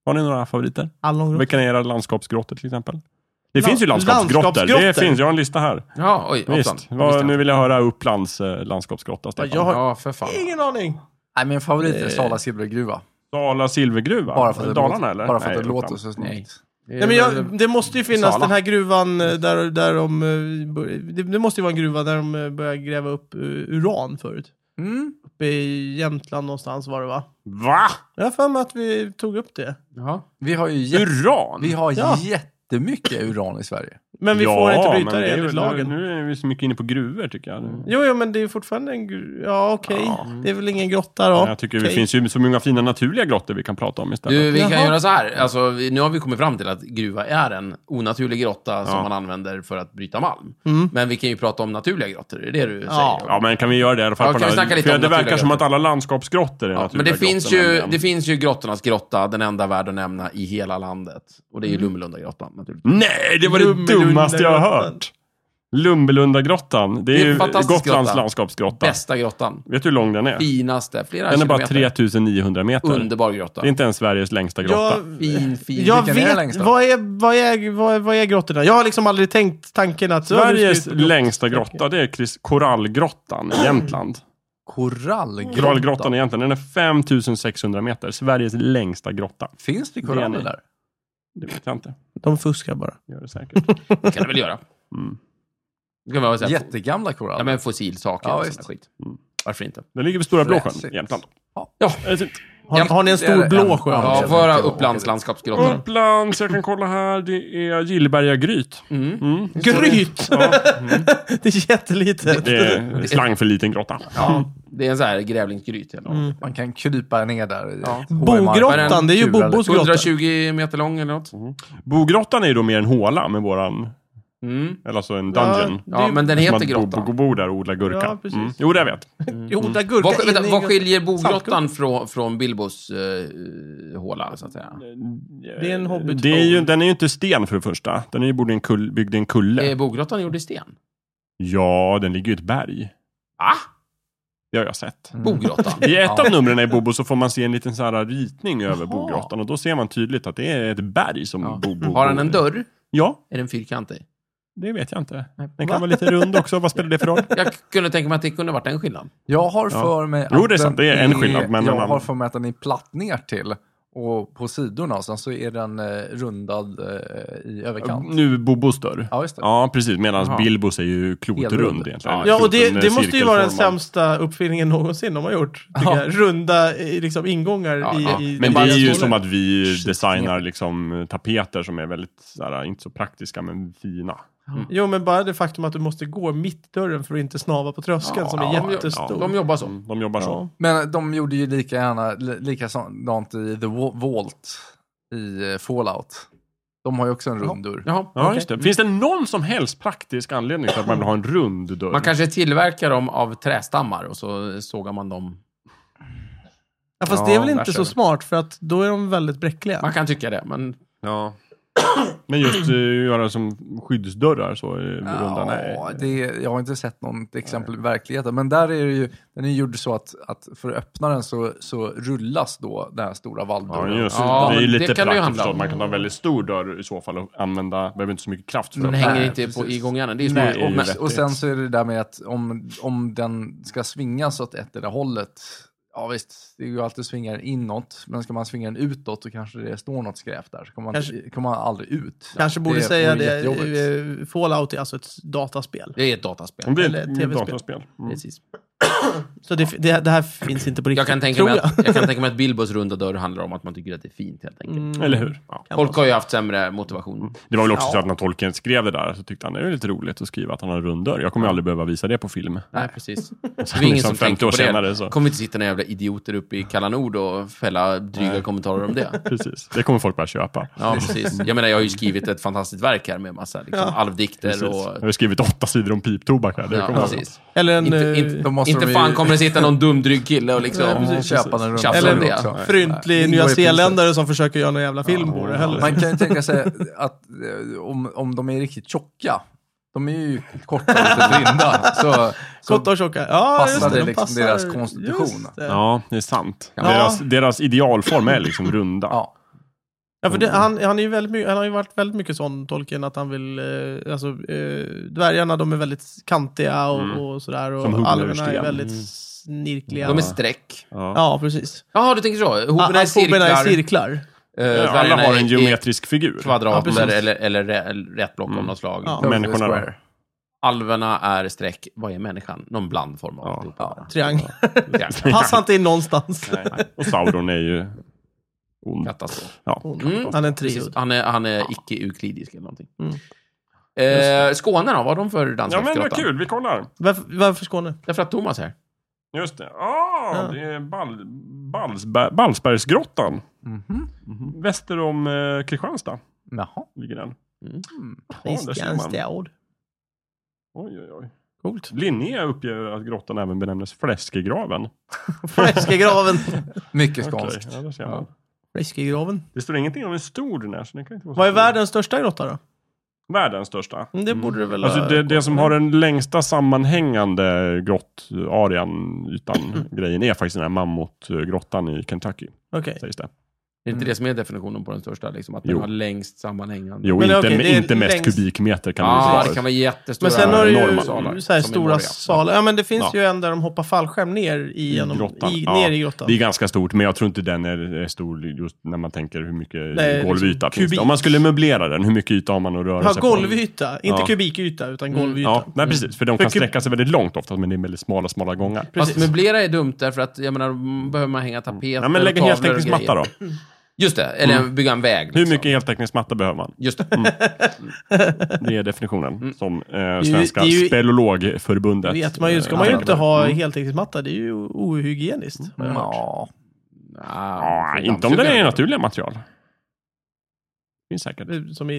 [SPEAKER 3] Har ni några favoriter?
[SPEAKER 1] Allongro.
[SPEAKER 3] Vilka är era landskapsgrottor till exempel? Det
[SPEAKER 1] Land-
[SPEAKER 3] finns ju landskapsgrottor.
[SPEAKER 1] landskapsgrottor.
[SPEAKER 3] Det finns, jag har en lista här.
[SPEAKER 2] Ja, oj, hoppsan.
[SPEAKER 3] Visst. Vad- nu vill jag höra Upplands eh, landskapsgrotta, Stefan.
[SPEAKER 1] jag har-
[SPEAKER 2] Ja, för fan.
[SPEAKER 1] Ingen aning.
[SPEAKER 4] Nej, min favorit är Sala silvergruva.
[SPEAKER 3] Dala silvergruva?
[SPEAKER 4] Bara för att det,
[SPEAKER 3] Dalarna
[SPEAKER 4] låter,
[SPEAKER 3] eller?
[SPEAKER 4] Bara för att
[SPEAKER 3] Nej,
[SPEAKER 4] det
[SPEAKER 3] Uppland.
[SPEAKER 4] låter så
[SPEAKER 2] Nej.
[SPEAKER 4] snyggt.
[SPEAKER 1] Nej, men jag, det måste ju finnas
[SPEAKER 2] Sala.
[SPEAKER 1] den här gruvan eh, där, där de... eh, bör- Det, det måste ju vara en gruva där de eh, började gräva upp eh, uran förut.
[SPEAKER 4] Mm.
[SPEAKER 1] Uppe i Jämtland någonstans var det va?
[SPEAKER 3] Va?
[SPEAKER 1] Jag har för mig att vi tog upp det.
[SPEAKER 2] Ja.
[SPEAKER 4] Vi har ju jätte,
[SPEAKER 3] Uran?
[SPEAKER 4] vi har
[SPEAKER 1] Ja.
[SPEAKER 4] jättemycket uran i Sverige.
[SPEAKER 1] Men vi
[SPEAKER 3] ja,
[SPEAKER 1] får inte
[SPEAKER 3] men
[SPEAKER 1] bryta det
[SPEAKER 3] är
[SPEAKER 1] enligt
[SPEAKER 3] väl-
[SPEAKER 1] lagen.
[SPEAKER 3] Nu är vi så mycket inne på gruvor tycker jag.
[SPEAKER 1] Jo, jo, men det är fortfarande en gru- Ja, okej.
[SPEAKER 3] Ja.
[SPEAKER 1] Det är väl ingen grotta då?
[SPEAKER 3] jag tycker det
[SPEAKER 1] Okej.
[SPEAKER 3] finns ju så många fina naturliga grottor vi kan prata om istället.
[SPEAKER 2] Du, vi kan
[SPEAKER 1] Jaha.
[SPEAKER 2] göra så här. Alltså, vi, nu har vi kommit fram till att gruva är en onaturlig grotta som
[SPEAKER 3] Ja.
[SPEAKER 2] man använder för att bryta malm.
[SPEAKER 1] Mm.
[SPEAKER 2] Men vi kan ju prata om naturliga grottor, det är det du
[SPEAKER 1] Ja.
[SPEAKER 2] säger?
[SPEAKER 3] Ja, men kan vi göra det i alla fall?
[SPEAKER 2] Ja,
[SPEAKER 3] på
[SPEAKER 2] kan
[SPEAKER 3] den
[SPEAKER 2] vi
[SPEAKER 3] här-
[SPEAKER 2] snacka lite
[SPEAKER 3] för
[SPEAKER 2] om
[SPEAKER 3] Det verkar
[SPEAKER 2] naturliga
[SPEAKER 3] som att alla landskapsgrottor är
[SPEAKER 2] Ja, men
[SPEAKER 3] naturliga
[SPEAKER 2] det finns,
[SPEAKER 3] grottor,
[SPEAKER 2] ju,
[SPEAKER 3] nämligen.
[SPEAKER 2] det finns ju grottornas grotta, den enda värd att nämna i hela landet. Och det är ju Lummelundagrottan naturligtvis.
[SPEAKER 3] Nej, det var det
[SPEAKER 1] Lummelunda
[SPEAKER 3] dummaste jag har
[SPEAKER 1] grottan.
[SPEAKER 3] hört! Lumbelundagrottan. Det
[SPEAKER 2] Det är
[SPEAKER 3] är
[SPEAKER 2] en
[SPEAKER 3] ju
[SPEAKER 2] fantastisk
[SPEAKER 3] Gotlands
[SPEAKER 2] grotta.
[SPEAKER 3] landskapsgrotta.
[SPEAKER 2] Bästa grottan.
[SPEAKER 3] Vet du hur lång den är?
[SPEAKER 2] Finaste. Flera
[SPEAKER 3] Den är bara
[SPEAKER 2] kilometer.
[SPEAKER 3] 3900 meter.
[SPEAKER 2] Underbar grotta.
[SPEAKER 3] Det är inte ens Sveriges längsta grotta.
[SPEAKER 1] Jag,
[SPEAKER 4] Fin, fin.
[SPEAKER 1] jag
[SPEAKER 4] Vilken är
[SPEAKER 1] vet,
[SPEAKER 4] längst då?
[SPEAKER 1] vad är, vad, är, vad, är, vad är grottorna? Jag har liksom aldrig tänkt tanken att... så, nu ska
[SPEAKER 3] Sveriges
[SPEAKER 1] vi ut på grott.
[SPEAKER 3] längsta grotta, det är Kris- Korallgrottan i Jämtland.
[SPEAKER 4] Korallgrotta.
[SPEAKER 3] Korallgrottan i Jämtland, den är 5600 meter. Sveriges längsta grotta.
[SPEAKER 4] Finns det
[SPEAKER 3] Det är
[SPEAKER 4] koraller
[SPEAKER 3] ni.
[SPEAKER 4] där?
[SPEAKER 3] Det vet jag inte.
[SPEAKER 1] De fuskar bara.
[SPEAKER 3] Gör det säkert.
[SPEAKER 2] Det kan det väl göra.
[SPEAKER 3] Mm.
[SPEAKER 2] Det kan man väl säga.
[SPEAKER 4] Jättegamla koraller.
[SPEAKER 2] Ja, men fossilsaker
[SPEAKER 4] Ja,
[SPEAKER 2] och
[SPEAKER 4] visst.
[SPEAKER 2] sån där skit.
[SPEAKER 3] Mm.
[SPEAKER 2] Varför inte?
[SPEAKER 3] Den ligger vid Stora Blåsjön
[SPEAKER 4] Fräsigt.
[SPEAKER 3] i Jämtland.
[SPEAKER 4] Ja.
[SPEAKER 3] Det är fint.
[SPEAKER 1] Har,
[SPEAKER 2] Jämt-
[SPEAKER 1] har ni en
[SPEAKER 4] är
[SPEAKER 1] stor
[SPEAKER 4] det
[SPEAKER 1] blå
[SPEAKER 4] en-
[SPEAKER 1] sjö?
[SPEAKER 4] Ja,
[SPEAKER 2] Ja,
[SPEAKER 1] också?
[SPEAKER 2] våra
[SPEAKER 4] jag åker
[SPEAKER 3] Mm.
[SPEAKER 2] Upplandslandskapsgrottor.
[SPEAKER 3] Upplands, jag kan kolla här. Det är Gillberga gryt.
[SPEAKER 2] Mm.
[SPEAKER 3] Mm.
[SPEAKER 1] Gryt!
[SPEAKER 3] Ja,
[SPEAKER 1] Det är jättelitet.
[SPEAKER 3] det är slang för liten grotta.
[SPEAKER 2] Ja, det är en sån här grävlingsgryt. helt enkelt.
[SPEAKER 4] Man kan krypa ner där. i ett HMI.
[SPEAKER 1] Bogrottan, det är ju
[SPEAKER 4] Kul, eller?
[SPEAKER 1] Bobos grotta.
[SPEAKER 2] 120 meter lång eller något.
[SPEAKER 3] Bogrottan är ju då mer en håla med våran,
[SPEAKER 2] Mm.
[SPEAKER 3] eller alltså en dungeon.
[SPEAKER 1] Det är
[SPEAKER 2] Ja,
[SPEAKER 1] ju-
[SPEAKER 2] men den
[SPEAKER 3] Som
[SPEAKER 2] heter
[SPEAKER 3] att bo,
[SPEAKER 2] grottan.
[SPEAKER 3] bo, bo där och odla gurka.
[SPEAKER 1] Ja, precis.
[SPEAKER 3] Mm. Jo, det jag vet.
[SPEAKER 1] Odla gurka
[SPEAKER 2] Vad, vänta,
[SPEAKER 1] in i
[SPEAKER 2] vad
[SPEAKER 1] gr-
[SPEAKER 2] skiljer Bogrottan från, från Bilbos eh, håla, så att säga?
[SPEAKER 1] Det är en hobbit.
[SPEAKER 3] Det är ju, den är ju inte sten för det första. Den är ju bord i en kull, byggd i en kulle.
[SPEAKER 2] Är Bogrottan gjord i sten?
[SPEAKER 3] Ja, den ligger ju i ett berg.
[SPEAKER 2] Ah,
[SPEAKER 3] Det har jag sett.
[SPEAKER 4] Mm.
[SPEAKER 2] Bogrottan.
[SPEAKER 3] I ett
[SPEAKER 4] Ja.
[SPEAKER 3] av numren i Bobo så får man se en liten så här ritning över Bogrottan och då ser man tydligt att det är ett berg som
[SPEAKER 2] Ja.
[SPEAKER 3] Bobo...
[SPEAKER 2] Har han en dörr?
[SPEAKER 3] Ja,
[SPEAKER 2] Är den fyrkantig?
[SPEAKER 3] det vet jag inte. Den kan vara lite rund också. Vad spelar det för roll?
[SPEAKER 2] Jag kunde tänka mig att det kunde varit en skillnad.
[SPEAKER 4] Jag har
[SPEAKER 3] Ja.
[SPEAKER 4] för mig
[SPEAKER 3] Jo, det är
[SPEAKER 4] den
[SPEAKER 3] sant. Det är en skillnad, men en
[SPEAKER 4] jag har
[SPEAKER 3] annan.
[SPEAKER 4] för mig att den är platt ner till och på sidorna och sen så är den eh, rundad eh, i överkant.
[SPEAKER 3] Nu Bobos dörr.
[SPEAKER 4] Ja, just det.
[SPEAKER 3] Ja, precis. Medan
[SPEAKER 4] Jaha.
[SPEAKER 3] Bilbos är ju klotrund
[SPEAKER 4] Helrund.
[SPEAKER 3] egentligen.
[SPEAKER 1] Ja, och det,
[SPEAKER 3] Kloten,
[SPEAKER 1] det
[SPEAKER 3] eh,
[SPEAKER 1] måste ju vara den
[SPEAKER 3] cirkelformad.
[SPEAKER 1] sämsta uppfinningen någonsin de har gjort. tycker
[SPEAKER 4] Ja.
[SPEAKER 1] Jag. Runda eh, liksom, ingångar
[SPEAKER 2] Ja,
[SPEAKER 1] i,
[SPEAKER 2] ja.
[SPEAKER 1] i...
[SPEAKER 3] Men det
[SPEAKER 1] i
[SPEAKER 3] är ju
[SPEAKER 1] skolor.
[SPEAKER 3] som att vi designar liksom tapeter som är väldigt, så här, eh, inte så praktiska men fina.
[SPEAKER 1] Jo, men bara det faktum att du måste gå mitt dörren för att inte snava på tröskeln som är
[SPEAKER 2] Ja,
[SPEAKER 1] jättestor.
[SPEAKER 2] De jobbar så.
[SPEAKER 3] Mm, De jobbar så.
[SPEAKER 4] Men de gjorde ju lika gärna, li- likadant i The Wa- Vault i eh, Fallout. De har ju också en rund dörr.
[SPEAKER 2] Jaha.
[SPEAKER 3] Ja, just det. Finns det någon som helst praktisk anledning till att man vill ha en rund dörr?
[SPEAKER 2] Man kanske tillverkar dem av trästammar och så sågar man dem.
[SPEAKER 1] Ja, fast
[SPEAKER 3] Ja,
[SPEAKER 1] det är väl
[SPEAKER 3] där
[SPEAKER 1] inte
[SPEAKER 3] ser
[SPEAKER 1] så
[SPEAKER 3] vi.
[SPEAKER 1] smart för att då är de väldigt bräckliga.
[SPEAKER 2] Man kan tycka det, men
[SPEAKER 3] Ja. Men just uh, göra som skyddsdörrar så eh, runda, nej.
[SPEAKER 4] Ja, det, jag har inte sett något exempel i verkligheten. Men där är det ju, den är gjord så att, att för att öppna den så, så rullas då den här stora
[SPEAKER 3] Ja,
[SPEAKER 4] valvdörren.
[SPEAKER 3] just,
[SPEAKER 2] Ja,
[SPEAKER 3] det är ju
[SPEAKER 2] men det
[SPEAKER 3] lite
[SPEAKER 2] kan det ju handla
[SPEAKER 3] praktiskt förstås.
[SPEAKER 2] om.
[SPEAKER 3] Man kan ha en väldigt stor dörr i så fall och använda, behöver inte så mycket kraft för
[SPEAKER 2] den
[SPEAKER 3] att-
[SPEAKER 2] hänger
[SPEAKER 4] Nej,
[SPEAKER 2] inte på,
[SPEAKER 4] precis.
[SPEAKER 2] i gångjärnen. Det är ju
[SPEAKER 3] Nej,
[SPEAKER 2] små-
[SPEAKER 3] det är ju
[SPEAKER 2] men-
[SPEAKER 3] vettigt.
[SPEAKER 4] Och sen så är det det där med att om, om den ska svingas åt ett eller hållet. Ja visst, det går ju alltid att svinga den inåt. Men ska man svinga den utåt så kanske det står något skräp där. Så kommer man,
[SPEAKER 1] Kanske-
[SPEAKER 4] kommer man aldrig ut.
[SPEAKER 1] Kanske borde säga
[SPEAKER 4] vore
[SPEAKER 1] det.
[SPEAKER 4] jättejobbigt.
[SPEAKER 1] eh, Fallout är alltså ett dataspel.
[SPEAKER 2] Det är ett dataspel.
[SPEAKER 3] Om det
[SPEAKER 1] Eller
[SPEAKER 3] är ett
[SPEAKER 1] TV-spel.
[SPEAKER 3] dataspel. Mm.
[SPEAKER 2] Precis.
[SPEAKER 1] Så det, det, det här finns inte på riktigt,
[SPEAKER 2] Jag kan, tänka
[SPEAKER 1] tror
[SPEAKER 2] mig
[SPEAKER 1] jag.
[SPEAKER 2] att, jag kan tänka mig att Bilbos runda dörr handlar om att man tycker att det är fint, helt enkelt.
[SPEAKER 3] Eller hur?
[SPEAKER 2] Folk har ju haft sämre motivation.
[SPEAKER 3] Det var väl också
[SPEAKER 1] Ja.
[SPEAKER 3] så att när Tolkien skrev det där så tyckte han det är lite roligt att skriva att han har en rund dörr. Jag kommer ju aldrig behöva visa det på film.
[SPEAKER 2] Nej, precis. Det
[SPEAKER 3] Sen
[SPEAKER 2] är ingen
[SPEAKER 3] liksom
[SPEAKER 2] som
[SPEAKER 3] 50
[SPEAKER 2] tänker
[SPEAKER 3] år
[SPEAKER 2] på det.
[SPEAKER 3] senare så-
[SPEAKER 2] kommer inte sitta några jävla idioter uppe i Kalla Nord och fälla dryga kommentarer om det.
[SPEAKER 3] Precis. Det kommer folk börja köpa.
[SPEAKER 2] Ja, precis. Jag menar, jag har ju skrivit ett fantastiskt verk här med massa liksom, alvdikter
[SPEAKER 3] Precis. Jag
[SPEAKER 2] och...
[SPEAKER 3] har ju skrivit åtta sidor om piptobak här. Det
[SPEAKER 2] Ja,
[SPEAKER 3] kommer
[SPEAKER 2] precis.
[SPEAKER 1] Eller en...
[SPEAKER 2] Inte,
[SPEAKER 1] eh,
[SPEAKER 4] Då
[SPEAKER 2] inte,
[SPEAKER 4] måste
[SPEAKER 2] inte
[SPEAKER 4] de ju-
[SPEAKER 2] fan kommer det sitta någon dumdryg kille och liksom...
[SPEAKER 1] Nej, precis.
[SPEAKER 4] Köpa den runda
[SPEAKER 2] Eller
[SPEAKER 4] dörren
[SPEAKER 2] det.
[SPEAKER 4] också.
[SPEAKER 1] fryntlig
[SPEAKER 4] Nej. Ingår i priset.
[SPEAKER 1] nyzeeländare som försöker göra någon jävla film på det heller.
[SPEAKER 4] Man kan ju tänka sig att eh, om, om de är riktigt tjocka, de är ju korta och lite blinda, så, så
[SPEAKER 1] Korta och tjocka. Ja,
[SPEAKER 4] Passar
[SPEAKER 1] just det,
[SPEAKER 4] det
[SPEAKER 1] de
[SPEAKER 4] liksom
[SPEAKER 1] passar.
[SPEAKER 4] deras konstitution?
[SPEAKER 1] Just det. Ja.
[SPEAKER 3] Ja, det är sant. Deras, deras idealform är liksom runda.
[SPEAKER 4] ja.
[SPEAKER 1] för det, han, han, är ju väldigt, my- han har ju varit väldigt mycket sån, Tolkien, att han vill... Eh, alltså, eh, dvärgarna, de är väldigt kantiga och,
[SPEAKER 3] Mm.
[SPEAKER 1] och sådär.
[SPEAKER 3] Som
[SPEAKER 1] Och
[SPEAKER 3] huggna ur
[SPEAKER 1] alverna är
[SPEAKER 3] sten.
[SPEAKER 1] väldigt
[SPEAKER 3] Mm.
[SPEAKER 1] snirkliga.
[SPEAKER 2] De är streck.
[SPEAKER 3] Ja.
[SPEAKER 1] Ja, precis.
[SPEAKER 2] Jaha, du tänker så.
[SPEAKER 1] Ah,
[SPEAKER 2] Hoberna är cirklar.
[SPEAKER 1] Alfoberna är cirklar.
[SPEAKER 2] eh,
[SPEAKER 3] Ja, Alla
[SPEAKER 2] dvärgarna
[SPEAKER 3] har
[SPEAKER 2] är-
[SPEAKER 3] en
[SPEAKER 2] är
[SPEAKER 3] geometrisk figur.
[SPEAKER 1] Ja,
[SPEAKER 2] Kvadrater
[SPEAKER 1] precis.
[SPEAKER 2] eller, eller, rä- eller rätt block av något slag.
[SPEAKER 1] Ja.
[SPEAKER 3] Människorna då?
[SPEAKER 4] Square.
[SPEAKER 2] Alverna är streck. Vad är människan? Någon blandform av alltihopa.
[SPEAKER 4] Ja.
[SPEAKER 1] Triangel.
[SPEAKER 2] Jävlar.
[SPEAKER 1] Passar inte in någonstans.
[SPEAKER 3] Nej, nej. Och Sauron är ju ond.
[SPEAKER 2] Katastrof.
[SPEAKER 3] Ja.
[SPEAKER 2] Mm.
[SPEAKER 1] Han är en
[SPEAKER 2] Precis.
[SPEAKER 1] trio.
[SPEAKER 2] Han är, han är icke-euklidisk eller någonting.
[SPEAKER 1] Mm.
[SPEAKER 2] Eh, Skåne då? Vad har de för
[SPEAKER 3] ja, men vad
[SPEAKER 2] landskapsgrotta?
[SPEAKER 3] kul. Vi kollar.
[SPEAKER 1] Varför, varför Skåne?
[SPEAKER 2] Därför att Thomas är här.
[SPEAKER 3] Just det. Ah,
[SPEAKER 1] Ja.
[SPEAKER 3] det är Ball, Ballsberg, Ballsbergsgrottan.
[SPEAKER 4] Mhm.
[SPEAKER 3] Väster om eh, Kristianstad
[SPEAKER 4] Jaha.
[SPEAKER 3] ligger den.
[SPEAKER 4] Mm.
[SPEAKER 3] Ja, där ser man.
[SPEAKER 1] Kristianstad.
[SPEAKER 3] Oj, oj, oj.
[SPEAKER 1] Coolt.
[SPEAKER 3] Linné uppger att grottan även benämnes Fläskegraven.
[SPEAKER 1] Fläskegraven.
[SPEAKER 4] Mycket
[SPEAKER 3] Okej,
[SPEAKER 4] skånskt.
[SPEAKER 3] ja, där ser man.
[SPEAKER 1] Fläskegraven.
[SPEAKER 3] Det står ingenting om hur stor den är. Så den kan inte vara så
[SPEAKER 1] Vad är
[SPEAKER 3] stor.
[SPEAKER 1] världens största grotta då?
[SPEAKER 3] Världens största.
[SPEAKER 1] Mm, Det borde du väl
[SPEAKER 3] Alltså
[SPEAKER 1] ha-
[SPEAKER 3] det, det som har den längsta sammanhängande grottarean, ytan, grejen är faktiskt den här mammutgrottan i Kentucky.
[SPEAKER 1] Okej.
[SPEAKER 3] Sägs det.
[SPEAKER 2] Är det inte det som är definitionen på den största? Liksom, att
[SPEAKER 3] Jo.
[SPEAKER 2] den har längst sammanhängande?
[SPEAKER 3] Jo,
[SPEAKER 1] Men
[SPEAKER 3] inte,
[SPEAKER 1] okej, det är
[SPEAKER 3] inte mest
[SPEAKER 1] längst-
[SPEAKER 3] kubikmeter kan det
[SPEAKER 2] ah,
[SPEAKER 3] vara.
[SPEAKER 2] det kan vara jättestora
[SPEAKER 1] Men sen har du
[SPEAKER 3] enorma
[SPEAKER 1] ju
[SPEAKER 3] salar,
[SPEAKER 1] så här
[SPEAKER 2] som i
[SPEAKER 1] stora
[SPEAKER 2] Moria.
[SPEAKER 1] salar. Ja, men det finns
[SPEAKER 3] Ja.
[SPEAKER 1] ju en där de hoppar fallskärm ner i, genom,
[SPEAKER 3] grottan.
[SPEAKER 1] I,
[SPEAKER 3] Ja.
[SPEAKER 1] ner i grottan.
[SPEAKER 3] Det är ganska stort, men jag tror inte den är är stor just när man tänker hur mycket
[SPEAKER 1] Nej,
[SPEAKER 3] golvyta
[SPEAKER 1] liksom
[SPEAKER 3] finns det.
[SPEAKER 1] kubik.
[SPEAKER 3] Om man skulle möblera den, hur mycket yta har man att röra
[SPEAKER 1] Ja,
[SPEAKER 3] sig på?
[SPEAKER 1] golvyta. Inte
[SPEAKER 3] Ja.
[SPEAKER 1] kubikyta, utan golvyta.
[SPEAKER 3] Ja, nej, precis. För de
[SPEAKER 1] För
[SPEAKER 3] kan
[SPEAKER 1] kub-
[SPEAKER 3] sträcka sig väldigt långt ofta, men det är väldigt smala, smala gångar.
[SPEAKER 2] Fast
[SPEAKER 1] Precis.
[SPEAKER 2] möblera är dumt därför att, jag menar, m- behöver man hänga tapeter
[SPEAKER 3] Ja, men lägg en
[SPEAKER 2] tavlor och
[SPEAKER 3] heltäckningsmatta
[SPEAKER 2] grejer.
[SPEAKER 3] då.
[SPEAKER 2] Just det, eller bygga en väg.
[SPEAKER 3] Hur
[SPEAKER 2] liksom.
[SPEAKER 3] mycket heltäckningsmatta behöver man?
[SPEAKER 2] Just det.
[SPEAKER 3] Det är definitionen som eh,
[SPEAKER 1] ju-
[SPEAKER 3] Svenska
[SPEAKER 1] Mm. det är ju-
[SPEAKER 3] spelologförbundet. eh,
[SPEAKER 1] vet man ju. ska man ju inte ha heltäckningsmatta. Det är ju ohygieniskt. har jag hört.
[SPEAKER 4] Mm. Ja,
[SPEAKER 2] Ah,
[SPEAKER 3] Ja, inte om det är naturliga material. Finns säkert.
[SPEAKER 1] Som i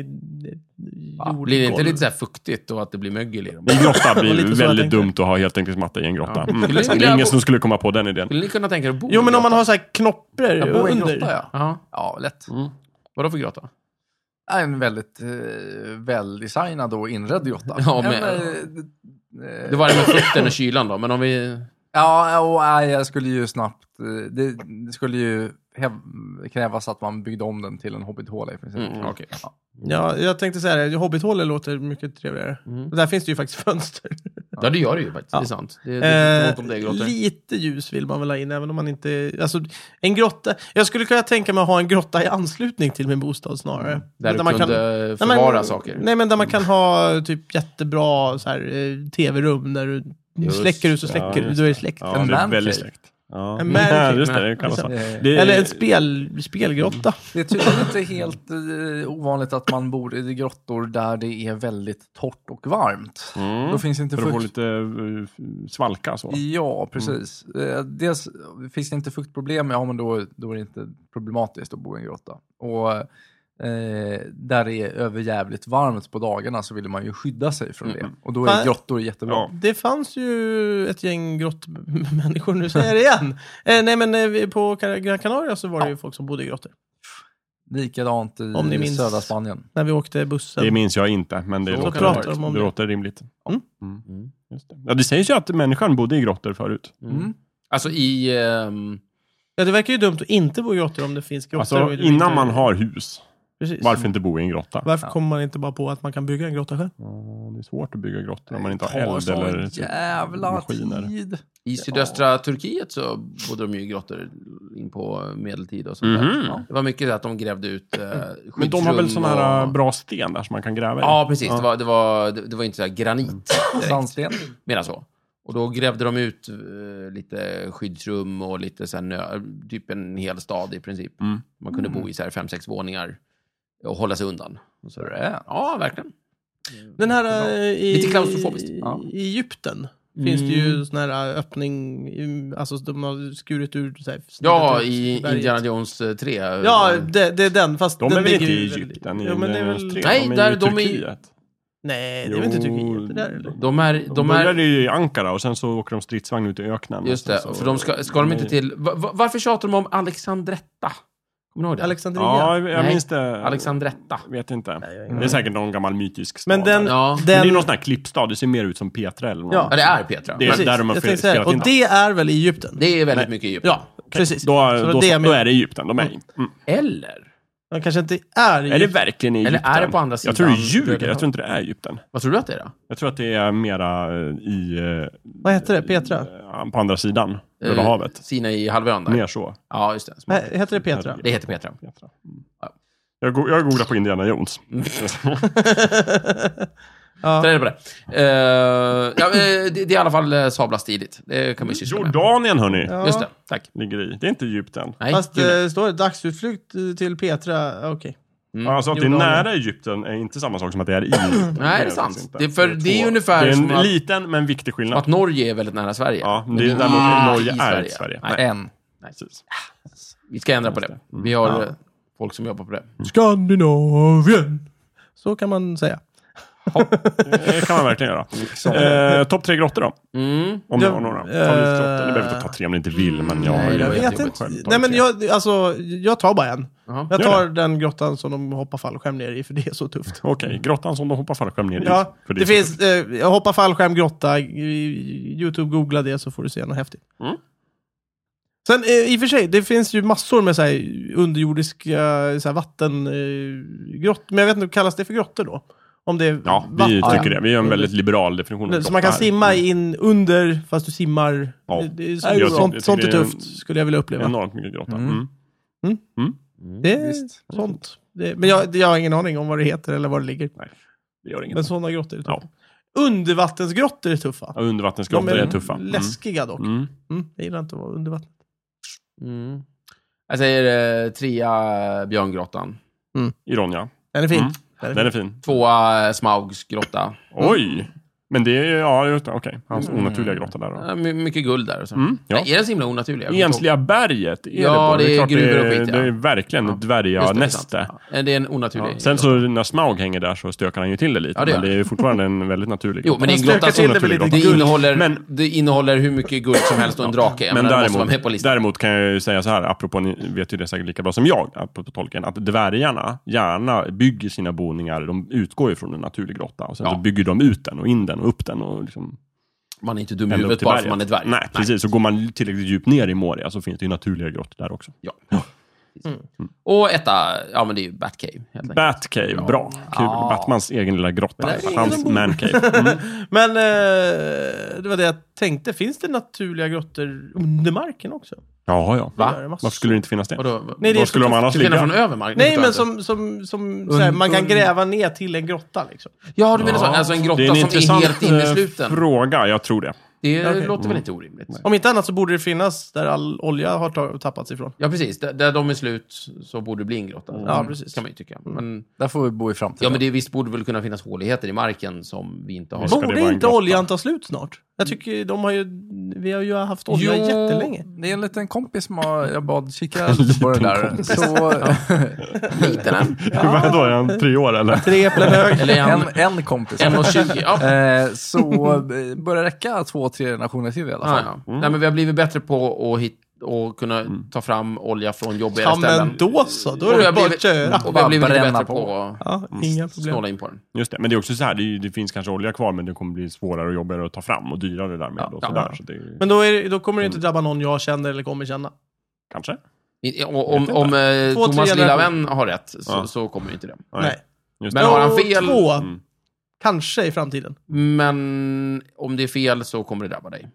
[SPEAKER 2] Ja,
[SPEAKER 1] jordgolv.
[SPEAKER 2] Blir det inte lite så här fuktigt och att det blir mögel i dem?
[SPEAKER 3] En grotta
[SPEAKER 1] Det var lite
[SPEAKER 3] blir
[SPEAKER 1] så jag
[SPEAKER 3] väldigt
[SPEAKER 1] tänkte.
[SPEAKER 3] dumt att ha heltäckningsmatta i en grotta.
[SPEAKER 2] Ja.
[SPEAKER 3] Mm.
[SPEAKER 2] Skulle
[SPEAKER 3] Det
[SPEAKER 2] vilja
[SPEAKER 3] är ingen
[SPEAKER 2] bo-
[SPEAKER 3] som skulle komma på den idén.
[SPEAKER 2] Skulle ni kunna tänka er att bo
[SPEAKER 1] Jo, men om man
[SPEAKER 2] i
[SPEAKER 1] har så här knoppor
[SPEAKER 4] jag bor i en
[SPEAKER 1] under.
[SPEAKER 4] grotta ja.
[SPEAKER 2] grotta? Ja.
[SPEAKER 4] Ja, lätt.
[SPEAKER 2] Vadå för grotta?
[SPEAKER 4] Ja, En väldigt eh, väldesignad och inredd grotta.
[SPEAKER 2] Ja, men-
[SPEAKER 4] En, eh, eh,
[SPEAKER 2] Det var det med fukten och kylan då, men om vi...
[SPEAKER 4] Ja, och nej, jag skulle ju snabbt... eh, Det, det skulle ju häv- krävas att man byggde om den till en hobbithåla i princip.
[SPEAKER 2] Mm, okej.
[SPEAKER 4] Ja.
[SPEAKER 1] Ja, jag tänkte så här, hobbithålor låter mycket trevligare.
[SPEAKER 2] Mm.
[SPEAKER 1] Där finns det ju faktiskt fönster.
[SPEAKER 2] Ja, det gör det ju faktiskt. Det är sant. Det, det är
[SPEAKER 1] Eh,
[SPEAKER 2] ont om det i grottor.
[SPEAKER 1] lite ljus vill man väl ha in, även om man inte... Alltså, en grotta... Jag skulle kunna tänka mig att ha en grotta i anslutning till min bostad snarare.
[SPEAKER 2] Mm. Där du
[SPEAKER 1] man
[SPEAKER 2] kunde
[SPEAKER 1] kan, Nej, men-
[SPEAKER 2] förvara saker. Mm.
[SPEAKER 1] Nej, men där man kan ha typ jättebra så här, eh, tv-rum där du
[SPEAKER 2] Just,
[SPEAKER 1] släcker ut och
[SPEAKER 3] ja,
[SPEAKER 1] släcker
[SPEAKER 3] just
[SPEAKER 1] du är släckt.
[SPEAKER 3] Ja,
[SPEAKER 4] En
[SPEAKER 3] det är
[SPEAKER 4] mancave.
[SPEAKER 3] väldigt släkt. Ja.
[SPEAKER 1] En mancave.
[SPEAKER 3] just det, det kallas
[SPEAKER 1] Liksom.
[SPEAKER 3] så.
[SPEAKER 4] Eh,
[SPEAKER 3] Det är-
[SPEAKER 1] Eller en spel, spelgrotta.
[SPEAKER 4] Det är tydligen inte helt eh, ovanligt att man bor i grottor där det är väldigt torrt och varmt.
[SPEAKER 3] Mm.
[SPEAKER 4] Då finns det inte
[SPEAKER 3] För att få
[SPEAKER 4] fukt.
[SPEAKER 3] lite eh, svalka så.
[SPEAKER 4] Ja, precis. Eh, dels finns det inte fuktproblem, ja men då, då är det inte problematiskt att bo i en grotta. Och eh, där det är överjävligt varmt på dagarna så vill man ju skydda sig från det. Och då är
[SPEAKER 1] Fan.
[SPEAKER 4] grottor jättebra.
[SPEAKER 3] Mm. Ja.
[SPEAKER 2] Mm.
[SPEAKER 1] Det fanns ju ett gäng grottmänniskor, nu säger jag det igen. Eh, nej, men eh, vi- på Kan- Gran Canaria så var det ju folk som bodde i grottor.
[SPEAKER 4] Likadant i
[SPEAKER 1] Om ni minns.
[SPEAKER 4] södra Spanien.
[SPEAKER 1] När vi åkte bussen.
[SPEAKER 3] Det minns jag inte, men det,
[SPEAKER 2] Så
[SPEAKER 3] låter,
[SPEAKER 2] pratar
[SPEAKER 1] de om
[SPEAKER 3] det
[SPEAKER 1] det.
[SPEAKER 3] låter rimligt.
[SPEAKER 1] Mm.
[SPEAKER 2] Mm.
[SPEAKER 3] Just det. Ja, det sägs ju att människan bodde i grottor förut.
[SPEAKER 4] Mm.
[SPEAKER 2] Alltså i... ehm,
[SPEAKER 1] Ja, det verkar ju dumt att inte bo i grottor om det finns grottor.
[SPEAKER 3] Alltså,
[SPEAKER 1] och du
[SPEAKER 3] innan
[SPEAKER 1] inte-
[SPEAKER 3] man har hus,
[SPEAKER 1] Precis.
[SPEAKER 3] varför inte bo i en grotta?
[SPEAKER 1] Varför kommer man inte bara på att man kan bygga en grotta själv?
[SPEAKER 3] Ja, Det är svårt att bygga grottor om man inte har
[SPEAKER 4] Tar
[SPEAKER 3] eld
[SPEAKER 4] sån
[SPEAKER 3] eller
[SPEAKER 4] jävla
[SPEAKER 3] maskiner.
[SPEAKER 4] tid.
[SPEAKER 2] I sydöstra Turkiet så bodde de ju i grottor in på medeltid och sånt där.
[SPEAKER 3] Mhm.
[SPEAKER 2] Ja. Det var mycket att de grävde ut eh,
[SPEAKER 3] Men de har väl
[SPEAKER 2] skyddsrum
[SPEAKER 3] såna här eh,
[SPEAKER 2] och...
[SPEAKER 3] bra sten där som man kan gräva i?
[SPEAKER 2] Ja, precis. Det, var, det, var, det, det var inte så här
[SPEAKER 3] Mm.
[SPEAKER 2] granit,
[SPEAKER 4] Sandsten.
[SPEAKER 2] menar så. Och då grävde de ut eh, lite skyddsrum och lite så här, nö, typ en hel stad i princip.
[SPEAKER 3] Mm.
[SPEAKER 2] Man kunde bo i så här fem, sex våningar och hålla sig undan. Och så där.
[SPEAKER 4] Bra.
[SPEAKER 2] Ja, verkligen.
[SPEAKER 1] Den här eh, i,
[SPEAKER 2] Lite klaustrofobiskt,
[SPEAKER 1] i,
[SPEAKER 4] ja.
[SPEAKER 1] i Egypten finns det
[SPEAKER 3] Mm.
[SPEAKER 1] ju sån här eh, öppning, i- alltså de har skurit ur så här,
[SPEAKER 2] Ja,
[SPEAKER 1] snittat ut
[SPEAKER 2] i
[SPEAKER 1] berget.
[SPEAKER 2] Indiana Jones eh, 3.
[SPEAKER 1] Ja, det, det är den, fast
[SPEAKER 3] De
[SPEAKER 1] den
[SPEAKER 3] är väl inte
[SPEAKER 1] ligger
[SPEAKER 3] i eh,
[SPEAKER 1] ju väldigt-
[SPEAKER 3] Egypten?
[SPEAKER 1] Ja, men det är väl...
[SPEAKER 3] Tre,
[SPEAKER 2] Nej,
[SPEAKER 3] de är
[SPEAKER 2] där-
[SPEAKER 3] ju i
[SPEAKER 2] de är-
[SPEAKER 3] Turkiet.
[SPEAKER 1] Nej, det är väl inte
[SPEAKER 3] Jo.
[SPEAKER 1] Turkiet det där eller?
[SPEAKER 2] De är... De
[SPEAKER 3] De
[SPEAKER 2] är...
[SPEAKER 3] började ju i Ankara och sen så åker de stridsvagn ut i öknen.
[SPEAKER 2] Just det,
[SPEAKER 3] Och sen så-
[SPEAKER 2] för de ska, ska de inte till... Va- va- varför tjatar de om Alexandretta? Kommer ni ihåg det?
[SPEAKER 1] Alexandria?
[SPEAKER 3] Ja, jag
[SPEAKER 2] Nej.
[SPEAKER 3] minns det.
[SPEAKER 2] Alexandretta.
[SPEAKER 3] Vet inte.
[SPEAKER 1] jag har ingen
[SPEAKER 3] Det är säkert någon gammal mytisk stad.
[SPEAKER 1] Men den-
[SPEAKER 3] där.
[SPEAKER 2] Ja.
[SPEAKER 1] den-
[SPEAKER 3] Men Det är någon sån här klippstad, det ser mer ut som Petra eller något.
[SPEAKER 1] Ja.
[SPEAKER 2] ja, det är Petra.
[SPEAKER 3] Det är
[SPEAKER 2] Men
[SPEAKER 1] precis.
[SPEAKER 3] där de har
[SPEAKER 1] Jag
[SPEAKER 3] fel-
[SPEAKER 1] tänkte säga,
[SPEAKER 3] spelat in
[SPEAKER 1] Och det är väl i Egypten?
[SPEAKER 2] det är väldigt mycket i Egypten.
[SPEAKER 1] Ja, precis.
[SPEAKER 3] Då,
[SPEAKER 1] Så
[SPEAKER 3] då,
[SPEAKER 1] det
[SPEAKER 3] då,
[SPEAKER 1] är det jag menar.
[SPEAKER 3] är det Egypten de är i. Mm.
[SPEAKER 2] Eller?
[SPEAKER 1] De kanske inte är i
[SPEAKER 3] Är det
[SPEAKER 1] Egypten.
[SPEAKER 3] verkligen i
[SPEAKER 2] Eller
[SPEAKER 3] Egypten?
[SPEAKER 2] är det på andra
[SPEAKER 3] Jag tror det
[SPEAKER 2] sidan
[SPEAKER 3] ljuger.
[SPEAKER 2] Döden
[SPEAKER 3] Jag tror inte det är Egypten.
[SPEAKER 2] Vad tror du att det är då?
[SPEAKER 3] Jag tror att det är mera eh, i... eh,
[SPEAKER 1] Vad heter det? Petra?
[SPEAKER 3] eh, På andra sidan Röda
[SPEAKER 2] Eh,
[SPEAKER 3] havet.
[SPEAKER 2] Sina i halvön där?
[SPEAKER 3] Mer så.
[SPEAKER 2] Ja, just det.
[SPEAKER 1] Nej, Heter det Petra?
[SPEAKER 2] Det heter Petra.
[SPEAKER 3] Petra. Mm.
[SPEAKER 2] Ja.
[SPEAKER 3] Jag, go- jag googlar på Indiana Jones.
[SPEAKER 2] Så är det på det. Eh, ja, eh, det, det är i alla fall eh, sablas tidigt. Det kan man ju syssla med.
[SPEAKER 3] Jordanien hörni,
[SPEAKER 1] Ja.
[SPEAKER 2] Just det, tack.
[SPEAKER 3] ligger i. Det är inte Egypten.
[SPEAKER 2] Nej,
[SPEAKER 1] Fast
[SPEAKER 2] gud, nej.
[SPEAKER 1] eh, står det dagsutflykt eh, till Petra? Ja, Okej.
[SPEAKER 2] Mm.
[SPEAKER 3] Alltså att det är
[SPEAKER 1] Jordanien.
[SPEAKER 3] nära Egypten är inte samma sak som att det är i Egypten.
[SPEAKER 2] Nej, det är
[SPEAKER 3] faktiskt
[SPEAKER 2] sant.
[SPEAKER 3] inte.
[SPEAKER 2] Det är för det är
[SPEAKER 3] två-
[SPEAKER 2] ungefär
[SPEAKER 3] Det är en
[SPEAKER 2] som att-
[SPEAKER 3] liten men viktig skillnad.
[SPEAKER 2] att Norge är väldigt nära Sverige.
[SPEAKER 3] Ja,
[SPEAKER 2] Men
[SPEAKER 3] det är däremot Norge
[SPEAKER 2] i
[SPEAKER 3] är Sverige.
[SPEAKER 2] Nej,
[SPEAKER 4] En.
[SPEAKER 3] Precis.
[SPEAKER 2] Vi ska ändra på det. Vi har eh, folk som jobbar på det.
[SPEAKER 1] Skandinavien! Så kan man säga.
[SPEAKER 3] Det kan man verkligen göra. Eh, Topp tre grottor då?
[SPEAKER 2] Mm.
[SPEAKER 3] Om
[SPEAKER 1] Ja,
[SPEAKER 3] du har några. Ta
[SPEAKER 1] eh,
[SPEAKER 3] lite grottor. Ni behöver inte ta tre om ni inte vill, men jag har
[SPEAKER 2] Nej,
[SPEAKER 3] ju...
[SPEAKER 2] det
[SPEAKER 1] Jag
[SPEAKER 2] var
[SPEAKER 1] vet
[SPEAKER 2] jättejobbigt.
[SPEAKER 1] inte.
[SPEAKER 3] Själv tar
[SPEAKER 1] Nej, men
[SPEAKER 3] tre.
[SPEAKER 1] jag, alltså, jag tar bara en.
[SPEAKER 2] Jaha.
[SPEAKER 1] Jag
[SPEAKER 3] Gör
[SPEAKER 1] tar den grottan som de hoppar fallskärm ner i, för det är så tufft.
[SPEAKER 3] Okej, grottan som de hoppar fallskärm ner i.
[SPEAKER 1] Ja,
[SPEAKER 3] För
[SPEAKER 1] det,
[SPEAKER 3] är så tufft.
[SPEAKER 1] finns, eh, jag hoppar fallskärm, grotta, i- YouTube, googla det så får du se något häftigt.
[SPEAKER 3] Mm.
[SPEAKER 1] Sen eh, i och för sig, det finns ju massor med så här, underjordiska så här, vattengrott, men jag vet inte, vad kallas det för grottor då? Om det är
[SPEAKER 3] Ja, vi
[SPEAKER 1] vatten. Mm.
[SPEAKER 3] tycker det. Vi gör en väldigt liberal definition. av
[SPEAKER 1] Så man kan
[SPEAKER 3] grottor här. Mm.
[SPEAKER 1] simma in under, fast du simmar.
[SPEAKER 3] Ja.
[SPEAKER 1] Det, det, är
[SPEAKER 3] Jag
[SPEAKER 1] sånt,
[SPEAKER 3] tycker- jag
[SPEAKER 1] sånt, sånt är
[SPEAKER 3] tycker det är en-
[SPEAKER 1] tufft, skulle jag vilja uppleva.
[SPEAKER 3] Enormt mycket grotta.
[SPEAKER 4] Mm.
[SPEAKER 3] Mm.
[SPEAKER 1] det är
[SPEAKER 4] Visst.
[SPEAKER 1] sånt. Det, men jag, jag har ingen aning om vad det heter eller var det ligger.
[SPEAKER 3] Det gör inget.
[SPEAKER 1] Men sådana grottor är
[SPEAKER 3] Ja.
[SPEAKER 1] tuffa. Undervattensgrottor är tuffa.
[SPEAKER 3] Ja, undervattensgrottor
[SPEAKER 1] De
[SPEAKER 3] är
[SPEAKER 1] är
[SPEAKER 3] tuffa. Mm.
[SPEAKER 1] Läskiga dock.
[SPEAKER 3] Mm.
[SPEAKER 1] Mm, jag gillar inte att vara under vattnet.
[SPEAKER 2] Mm. Jag säger eh, trea Björngrottan.
[SPEAKER 3] Ironia.
[SPEAKER 1] Den är fin.
[SPEAKER 3] Mm.
[SPEAKER 1] Den är
[SPEAKER 3] Den
[SPEAKER 1] fin.
[SPEAKER 3] är fin.
[SPEAKER 2] Tvåa eh, Smaugs grotta.
[SPEAKER 3] Oj! Men det är ju, ja, just det. okej. Hans onaturliga grotta där då.
[SPEAKER 2] Eh, my- mycket guld där. och Så.
[SPEAKER 3] Mm, ja.
[SPEAKER 2] Mm. Nej, är den så himla onaturlig? Jag kommer inte ihåg.
[SPEAKER 3] Ensliga berget. Är
[SPEAKER 2] Ja,
[SPEAKER 3] det, bara.
[SPEAKER 2] det är
[SPEAKER 3] klart
[SPEAKER 2] gruvor och
[SPEAKER 3] det är-
[SPEAKER 2] skit, ja.
[SPEAKER 3] Det är verkligen
[SPEAKER 2] Ja.
[SPEAKER 3] ett
[SPEAKER 2] Just det, det är
[SPEAKER 3] dvärganäste.
[SPEAKER 2] sant. Ja, Det är en onaturlig.
[SPEAKER 3] Ja. Sen så när Smaug hänger där så stökar han ju till det lite.
[SPEAKER 2] Ja, det gör
[SPEAKER 3] men det är ju fortfarande en väldigt naturlig
[SPEAKER 2] Jo, men det är en
[SPEAKER 1] stökar
[SPEAKER 2] grotta
[SPEAKER 1] till
[SPEAKER 2] som
[SPEAKER 1] det med lite
[SPEAKER 2] det
[SPEAKER 1] guld.
[SPEAKER 2] innehåller,
[SPEAKER 3] Men-
[SPEAKER 2] det innehåller hur mycket guld som helst och en drake. Jag
[SPEAKER 3] Men
[SPEAKER 2] menar, det måste vara med på
[SPEAKER 3] däremot,
[SPEAKER 2] listan.
[SPEAKER 3] däremot kan jag ju säga så här, apropå, ni vet ju det säkert lika bra som jag, apropå tolken, att dvärgarna gärna bygger sina boningar, de utgår ju från en naturlig grotta och sen
[SPEAKER 2] Ja.
[SPEAKER 3] så bygger de ut den och in den och upp den och liksom
[SPEAKER 2] Man är inte dum i
[SPEAKER 3] ända upp
[SPEAKER 2] huvudet
[SPEAKER 3] till
[SPEAKER 2] bara för
[SPEAKER 3] berget.
[SPEAKER 2] man är dvärg.
[SPEAKER 3] Nej, precis. Så går man tillräckligt djupt ner i Moria så finns det ju naturliga grottor där också.
[SPEAKER 2] Och etta, ja men det är ju Batcave. Helt enkelt.
[SPEAKER 3] Batcave, bra. Kul.
[SPEAKER 2] Ja.
[SPEAKER 3] Batmans egen lilla grotta.
[SPEAKER 1] Men det är ingen som
[SPEAKER 3] Hans
[SPEAKER 1] bor-
[SPEAKER 3] mancave. Mm.
[SPEAKER 1] Men eh, det var det jag tänkte. Finns det naturliga grottor under marken också?
[SPEAKER 3] Ja, ja.
[SPEAKER 1] Det är massor.
[SPEAKER 3] Varför skulle det inte finnas det?
[SPEAKER 2] Vadå? Vad-
[SPEAKER 1] Nej, det är
[SPEAKER 3] Var
[SPEAKER 1] så
[SPEAKER 3] skulle de
[SPEAKER 1] tufft.
[SPEAKER 3] annars
[SPEAKER 2] Till skillnad från
[SPEAKER 3] ligga?
[SPEAKER 2] övermark?
[SPEAKER 1] Nej, men som, som, som såhär, man kan gräva ner till en grotta liksom.
[SPEAKER 2] Ja, du menar så. Alltså en grotta
[SPEAKER 3] Det är en
[SPEAKER 2] som är
[SPEAKER 3] intressant
[SPEAKER 2] helt innesluten.
[SPEAKER 3] eh, Mm. fråga, jag tror det.
[SPEAKER 2] Det
[SPEAKER 1] Okej.
[SPEAKER 2] låter väl inte orimligt?
[SPEAKER 1] Om inte annat så borde det finnas där all olja har ta- tappats ifrån.
[SPEAKER 2] Ja, precis. Där, där de är slut så borde det bli en grotta.
[SPEAKER 1] Ja, precis. Mm.
[SPEAKER 2] kan man ju tycka. Men,
[SPEAKER 4] Där får vi bo i framtiden.
[SPEAKER 2] ja, men det, visst borde väl kunna finnas håligheter i marken som vi inte har
[SPEAKER 3] Ska det
[SPEAKER 1] Borde
[SPEAKER 3] vara en
[SPEAKER 1] inte
[SPEAKER 3] grotta?
[SPEAKER 1] oljan ta slut snart? Jag tycker de har ju, vi har ju haft olja
[SPEAKER 2] Jo.
[SPEAKER 1] jättelänge.
[SPEAKER 4] Det är en liten kompis som har, jag bad kika lite på det där. Så,
[SPEAKER 2] liten än.
[SPEAKER 3] Vadå, är han tre år eller?
[SPEAKER 1] Tre äpplen hög.
[SPEAKER 2] Eller en,
[SPEAKER 4] en, en kompis.
[SPEAKER 2] en och tjugo. Ja. Ja,
[SPEAKER 4] Eh, så eh, börjar räcka två, tre generationer till i alla fall.
[SPEAKER 2] ja.
[SPEAKER 1] Mm.
[SPEAKER 2] Nej, men vi har blivit bättre på att hit, och kunna ta fram olja från jobbigare
[SPEAKER 1] Ja men
[SPEAKER 2] ställen.
[SPEAKER 1] då så, då är
[SPEAKER 2] Och vi
[SPEAKER 1] det
[SPEAKER 2] har
[SPEAKER 1] bara
[SPEAKER 2] blivit,
[SPEAKER 1] att köra.
[SPEAKER 2] och vi har blivit lite
[SPEAKER 4] Bränna
[SPEAKER 2] bättre
[SPEAKER 4] på.
[SPEAKER 2] på att
[SPEAKER 1] Ja, inga problem.
[SPEAKER 2] snåla in på den.
[SPEAKER 3] Just det, men det är också så här, det, är ju- det finns kanske olja kvar men det kommer bli svårare och jobbigare att ta fram och dyrare därmed.
[SPEAKER 2] Ja,
[SPEAKER 3] och
[SPEAKER 2] ja.
[SPEAKER 3] sådär, så det, är-
[SPEAKER 1] Men då, är, det- då kommer det
[SPEAKER 3] Mm.
[SPEAKER 1] inte drabba någon jag känner eller kommer känna.
[SPEAKER 3] kanske?
[SPEAKER 2] I- och- Om,
[SPEAKER 3] Vet
[SPEAKER 2] om eh,
[SPEAKER 1] Två, tre
[SPEAKER 2] Thomas lilla
[SPEAKER 1] generationer.
[SPEAKER 2] vän har rätt så,
[SPEAKER 3] Ja.
[SPEAKER 2] så kommer ju inte det.
[SPEAKER 1] Nej.
[SPEAKER 3] Just
[SPEAKER 2] Men
[SPEAKER 3] det.
[SPEAKER 2] har han
[SPEAKER 1] Och
[SPEAKER 2] fel?
[SPEAKER 1] Två,
[SPEAKER 3] Mm.
[SPEAKER 1] kanske i framtiden.
[SPEAKER 2] Men om det är fel så kommer det drabba
[SPEAKER 1] Mm.
[SPEAKER 2] dig.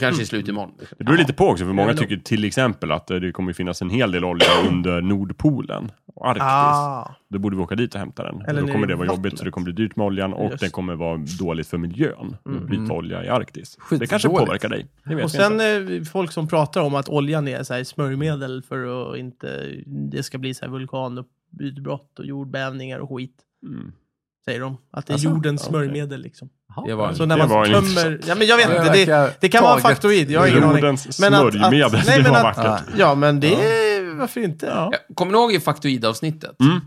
[SPEAKER 2] Kanske i slut imorgon.
[SPEAKER 3] Det beror lite på också, för många
[SPEAKER 1] men då-
[SPEAKER 3] tycker till exempel att eh, det kommer ju finnas en hel del olja under Nordpolen och Arktis. Då borde vi åka dit och hämta den.
[SPEAKER 1] Ah. Eller
[SPEAKER 3] då
[SPEAKER 1] ner
[SPEAKER 3] kommer
[SPEAKER 1] i
[SPEAKER 3] det vara jobbigt
[SPEAKER 1] vattnet.
[SPEAKER 3] så det kommer bli dyrt med oljan och
[SPEAKER 1] Just.
[SPEAKER 3] det kommer vara dåligt för miljön. att Bryta olja i Arktis. Det
[SPEAKER 4] Skitdåligt.
[SPEAKER 3] kanske påverkar dig. Det vet
[SPEAKER 1] Och
[SPEAKER 3] jag
[SPEAKER 1] sen
[SPEAKER 3] inte.
[SPEAKER 1] eh, folk som pratar om att oljan är så här smörjmedel för att inte det ska bli så här vulkanutbrott och jordbävningar och skit.
[SPEAKER 3] Mm.
[SPEAKER 1] Säger de. Att det är
[SPEAKER 3] Alltså?
[SPEAKER 1] jordens
[SPEAKER 3] Ja, okej.
[SPEAKER 1] smörjmedel liksom.
[SPEAKER 2] Det var,
[SPEAKER 1] Så när
[SPEAKER 3] Det
[SPEAKER 1] man
[SPEAKER 3] var
[SPEAKER 1] tömmer...
[SPEAKER 3] intressant.
[SPEAKER 1] Ja, men jag vet inte. Det,
[SPEAKER 4] verkar
[SPEAKER 1] det kan vara en
[SPEAKER 4] taget.
[SPEAKER 1] faktoid. Jag har ingen aning.
[SPEAKER 3] Jordens
[SPEAKER 1] Men att- att-
[SPEAKER 3] smörjmedel,
[SPEAKER 1] nej,
[SPEAKER 3] det
[SPEAKER 1] men
[SPEAKER 3] var
[SPEAKER 1] att-
[SPEAKER 3] vackert.
[SPEAKER 1] Ja, men det... Varför inte?
[SPEAKER 2] Ja, Kommer ni ihåg i faktoidavsnittet?
[SPEAKER 3] Mm.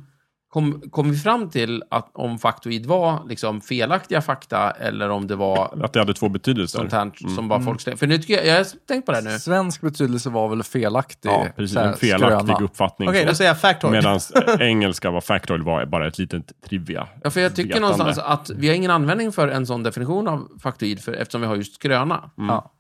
[SPEAKER 2] Kom, kom vi fram till att om faktoid var liksom felaktiga fakta eller om det var
[SPEAKER 3] Att det hade två betydelser.
[SPEAKER 2] sånt här som bara folk slänger? För nu tycker jag, jag har tänkt på det här nu.
[SPEAKER 4] Svensk betydelse var väl felaktig?
[SPEAKER 3] Ja, precis.
[SPEAKER 4] så här,
[SPEAKER 3] En felaktig
[SPEAKER 4] skröna.
[SPEAKER 3] uppfattning.
[SPEAKER 1] Okej, då säger jag factoid.
[SPEAKER 3] Medan engelska var factoid var bara ett litet trivia.
[SPEAKER 2] Ja, för jag tycker
[SPEAKER 3] Vetande.
[SPEAKER 2] någonstans att vi har ingen användning för en sån definition av faktoid för, eftersom vi har just skröna.
[SPEAKER 3] Mm.
[SPEAKER 4] Ja.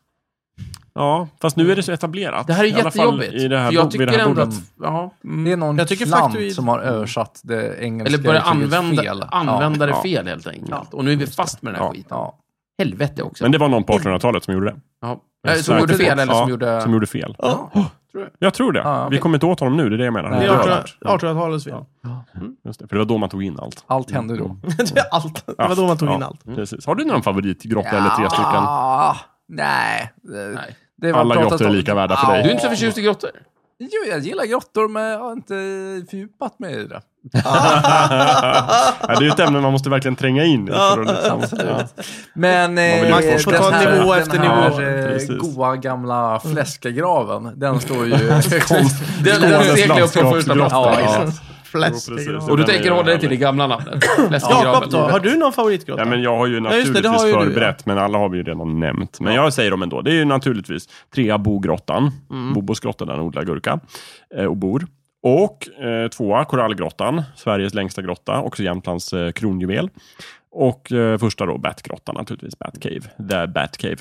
[SPEAKER 3] Ja, fast nu är det så etablerat.
[SPEAKER 2] Det här är
[SPEAKER 3] I alla fall
[SPEAKER 2] jättejobbigt.
[SPEAKER 3] I det här
[SPEAKER 2] för jag
[SPEAKER 3] bo- vid
[SPEAKER 2] tycker
[SPEAKER 3] det här
[SPEAKER 2] ändå
[SPEAKER 3] bordet.
[SPEAKER 2] att... Ja,
[SPEAKER 4] Mm. Det är någon
[SPEAKER 1] Jag tycker
[SPEAKER 4] klant
[SPEAKER 1] faktoid-
[SPEAKER 4] som har översatt det engelska
[SPEAKER 2] eller börja
[SPEAKER 4] uttrycket
[SPEAKER 2] använda,
[SPEAKER 4] fel.
[SPEAKER 2] använda
[SPEAKER 3] Ja.
[SPEAKER 2] det fel helt enkelt. Och nu är vi fast med den här
[SPEAKER 3] Ja.
[SPEAKER 2] skiten.
[SPEAKER 4] Ja.
[SPEAKER 2] Helvete också.
[SPEAKER 3] Men det var någon på 1800-talet som gjorde det.
[SPEAKER 2] ja. Eh, Som gjorde fel eller som gjorde...
[SPEAKER 3] Som gjorde fel.
[SPEAKER 1] Ja.
[SPEAKER 2] tror jag.
[SPEAKER 3] Jag tror det.
[SPEAKER 4] Ja, okej.
[SPEAKER 3] Vi kommer inte åt honom nu, det är det jag menar.
[SPEAKER 4] Nej.
[SPEAKER 1] Det
[SPEAKER 4] Ja,
[SPEAKER 1] är
[SPEAKER 3] Död.
[SPEAKER 1] 1800- 1800-talets fel.
[SPEAKER 3] Just det, för det var då man tog in allt.
[SPEAKER 4] Ja. Allt hände då.
[SPEAKER 1] Det är allt. Det var då man tog
[SPEAKER 3] Ja,
[SPEAKER 1] in allt. Mm.
[SPEAKER 3] Precis. Har du någon favoritgrotta eller tre stycken?
[SPEAKER 4] Ja, Ah, nej.
[SPEAKER 2] Nej.
[SPEAKER 4] Det var
[SPEAKER 3] Alla
[SPEAKER 4] pratat
[SPEAKER 3] grottor är
[SPEAKER 4] om.
[SPEAKER 3] lika värda för
[SPEAKER 4] Ja.
[SPEAKER 2] Du är
[SPEAKER 3] dig.
[SPEAKER 2] inte så förtjust i grottor?
[SPEAKER 4] Jo, jag gillar grottor, men jag har inte fördjupat mig i det.
[SPEAKER 3] Ja, det är ju ett ämne man måste verkligen tränga in i. För att liksom, ja.
[SPEAKER 4] Men
[SPEAKER 3] vill ju
[SPEAKER 4] eh, den
[SPEAKER 3] utforska. Man får ta
[SPEAKER 4] här-
[SPEAKER 1] nivå efter
[SPEAKER 4] den
[SPEAKER 1] nivå.
[SPEAKER 4] här eh,
[SPEAKER 3] Precis.
[SPEAKER 4] goa gamla fläskagraven, den står ju högst.
[SPEAKER 2] Den, den
[SPEAKER 3] Skånes
[SPEAKER 2] seglar upp på
[SPEAKER 3] landskapsgrotta.
[SPEAKER 2] första plats.
[SPEAKER 4] Ja,
[SPEAKER 3] Ja.
[SPEAKER 4] exakt.
[SPEAKER 3] Jo,
[SPEAKER 1] Fläskgrav.
[SPEAKER 2] Och
[SPEAKER 3] precis.
[SPEAKER 2] du
[SPEAKER 3] Den är
[SPEAKER 2] tänker
[SPEAKER 3] ju
[SPEAKER 2] hålla dig
[SPEAKER 3] härlig.
[SPEAKER 2] till det gamla namnet? Fläskgraven.
[SPEAKER 1] Jakob då, har du någon favoritgrotta?
[SPEAKER 3] Ja, men jag har ju
[SPEAKER 1] just det,
[SPEAKER 3] naturligtvis
[SPEAKER 1] det har ju du,
[SPEAKER 3] förberett, men alla har vi ju redan nämnt. Men jag säger dem ändå. Det är ju naturligtvis trea Bogrottan.
[SPEAKER 1] Mm.
[SPEAKER 3] Bobos grotta där han odlar gurka eh, och bor. Och eh, tvåa Korallgrottan, Sveriges längsta grotta, också Jämtlands eh, kronjuvel. Och eh, första då Batgrottan naturligtvis, Batcave. The Batcave.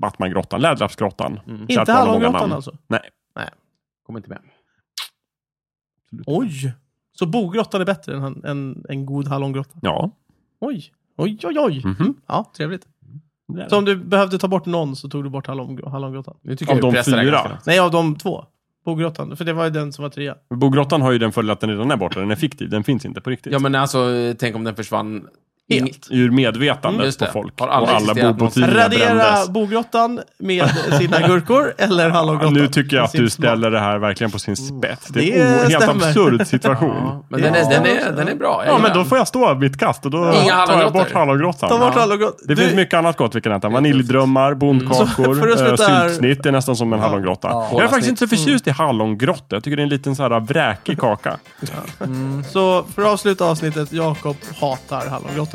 [SPEAKER 3] Batmangrottan, Läderlappsgrottan. Kärt
[SPEAKER 1] Mm. Inte
[SPEAKER 3] barn har många
[SPEAKER 1] Hallongrottan
[SPEAKER 3] namn.
[SPEAKER 1] alltså?
[SPEAKER 3] Nej.
[SPEAKER 2] Kom inte med.
[SPEAKER 1] Oj! Så Bogrottan är bättre än en, en, en god Hallongrotta?
[SPEAKER 3] Ja.
[SPEAKER 1] Oj! Oj, oj, oj!
[SPEAKER 3] Mhm.
[SPEAKER 1] Mm. Ja, trevligt.
[SPEAKER 3] det är det.
[SPEAKER 1] Så om du behövde ta bort någon så tog du bort Hallong- Hallongrottan?
[SPEAKER 2] Nu tycker
[SPEAKER 3] Av
[SPEAKER 2] jag
[SPEAKER 3] de
[SPEAKER 2] vi pressar det här
[SPEAKER 3] fyra.
[SPEAKER 2] ganska långt.
[SPEAKER 1] Nej, av de två. Bogrottan, för det var ju den som var trea.
[SPEAKER 3] Bogrottan har ju den fördelen att den redan är borta. Den är fiktiv, den finns inte på riktigt.
[SPEAKER 2] Ja, men alltså, tänk om den försvann
[SPEAKER 1] Helt.
[SPEAKER 2] helt.
[SPEAKER 3] Ur
[SPEAKER 2] Mm,
[SPEAKER 3] medvetandet
[SPEAKER 2] just det.
[SPEAKER 3] på folk.
[SPEAKER 2] Har
[SPEAKER 3] och
[SPEAKER 2] aldrig
[SPEAKER 3] alla
[SPEAKER 2] existerat
[SPEAKER 3] bobotidningar brändes.
[SPEAKER 1] Radera Bogrottan med sina gurkor eller Hallongrottan.
[SPEAKER 3] Nu tycker jag
[SPEAKER 1] med
[SPEAKER 3] att
[SPEAKER 1] sin
[SPEAKER 3] du
[SPEAKER 1] smak.
[SPEAKER 3] ställer det här verkligen på sin spets. Det är
[SPEAKER 1] Det
[SPEAKER 3] en o- helt
[SPEAKER 1] stämmer.
[SPEAKER 3] absurd situation.
[SPEAKER 2] Ja, men den är, den, är, den är bra. Jag
[SPEAKER 3] Ja, men
[SPEAKER 2] gillar
[SPEAKER 3] då får jag stå mitt kast och då tar jag
[SPEAKER 2] hallongrottor.
[SPEAKER 3] bort hallongrottan.
[SPEAKER 1] Ta bort
[SPEAKER 3] Ja.
[SPEAKER 1] Hallongrottan.
[SPEAKER 3] Det
[SPEAKER 1] Du-
[SPEAKER 3] finns mycket annat gott vi kan äta. Vaniljdrömmar,
[SPEAKER 1] Mm. Så för
[SPEAKER 3] bondkakor,
[SPEAKER 1] att
[SPEAKER 3] eh,
[SPEAKER 1] sluta här-
[SPEAKER 3] syltsnitt. Det är nästan som en hallongrotta.
[SPEAKER 4] Ja.
[SPEAKER 3] Jag är faktiskt inte så förtjust i hallongrotta. Jag tycker det är en liten så här vräkig kaka.
[SPEAKER 1] Så för att avsluta avsnittet, Jakob hatar hallongrottor.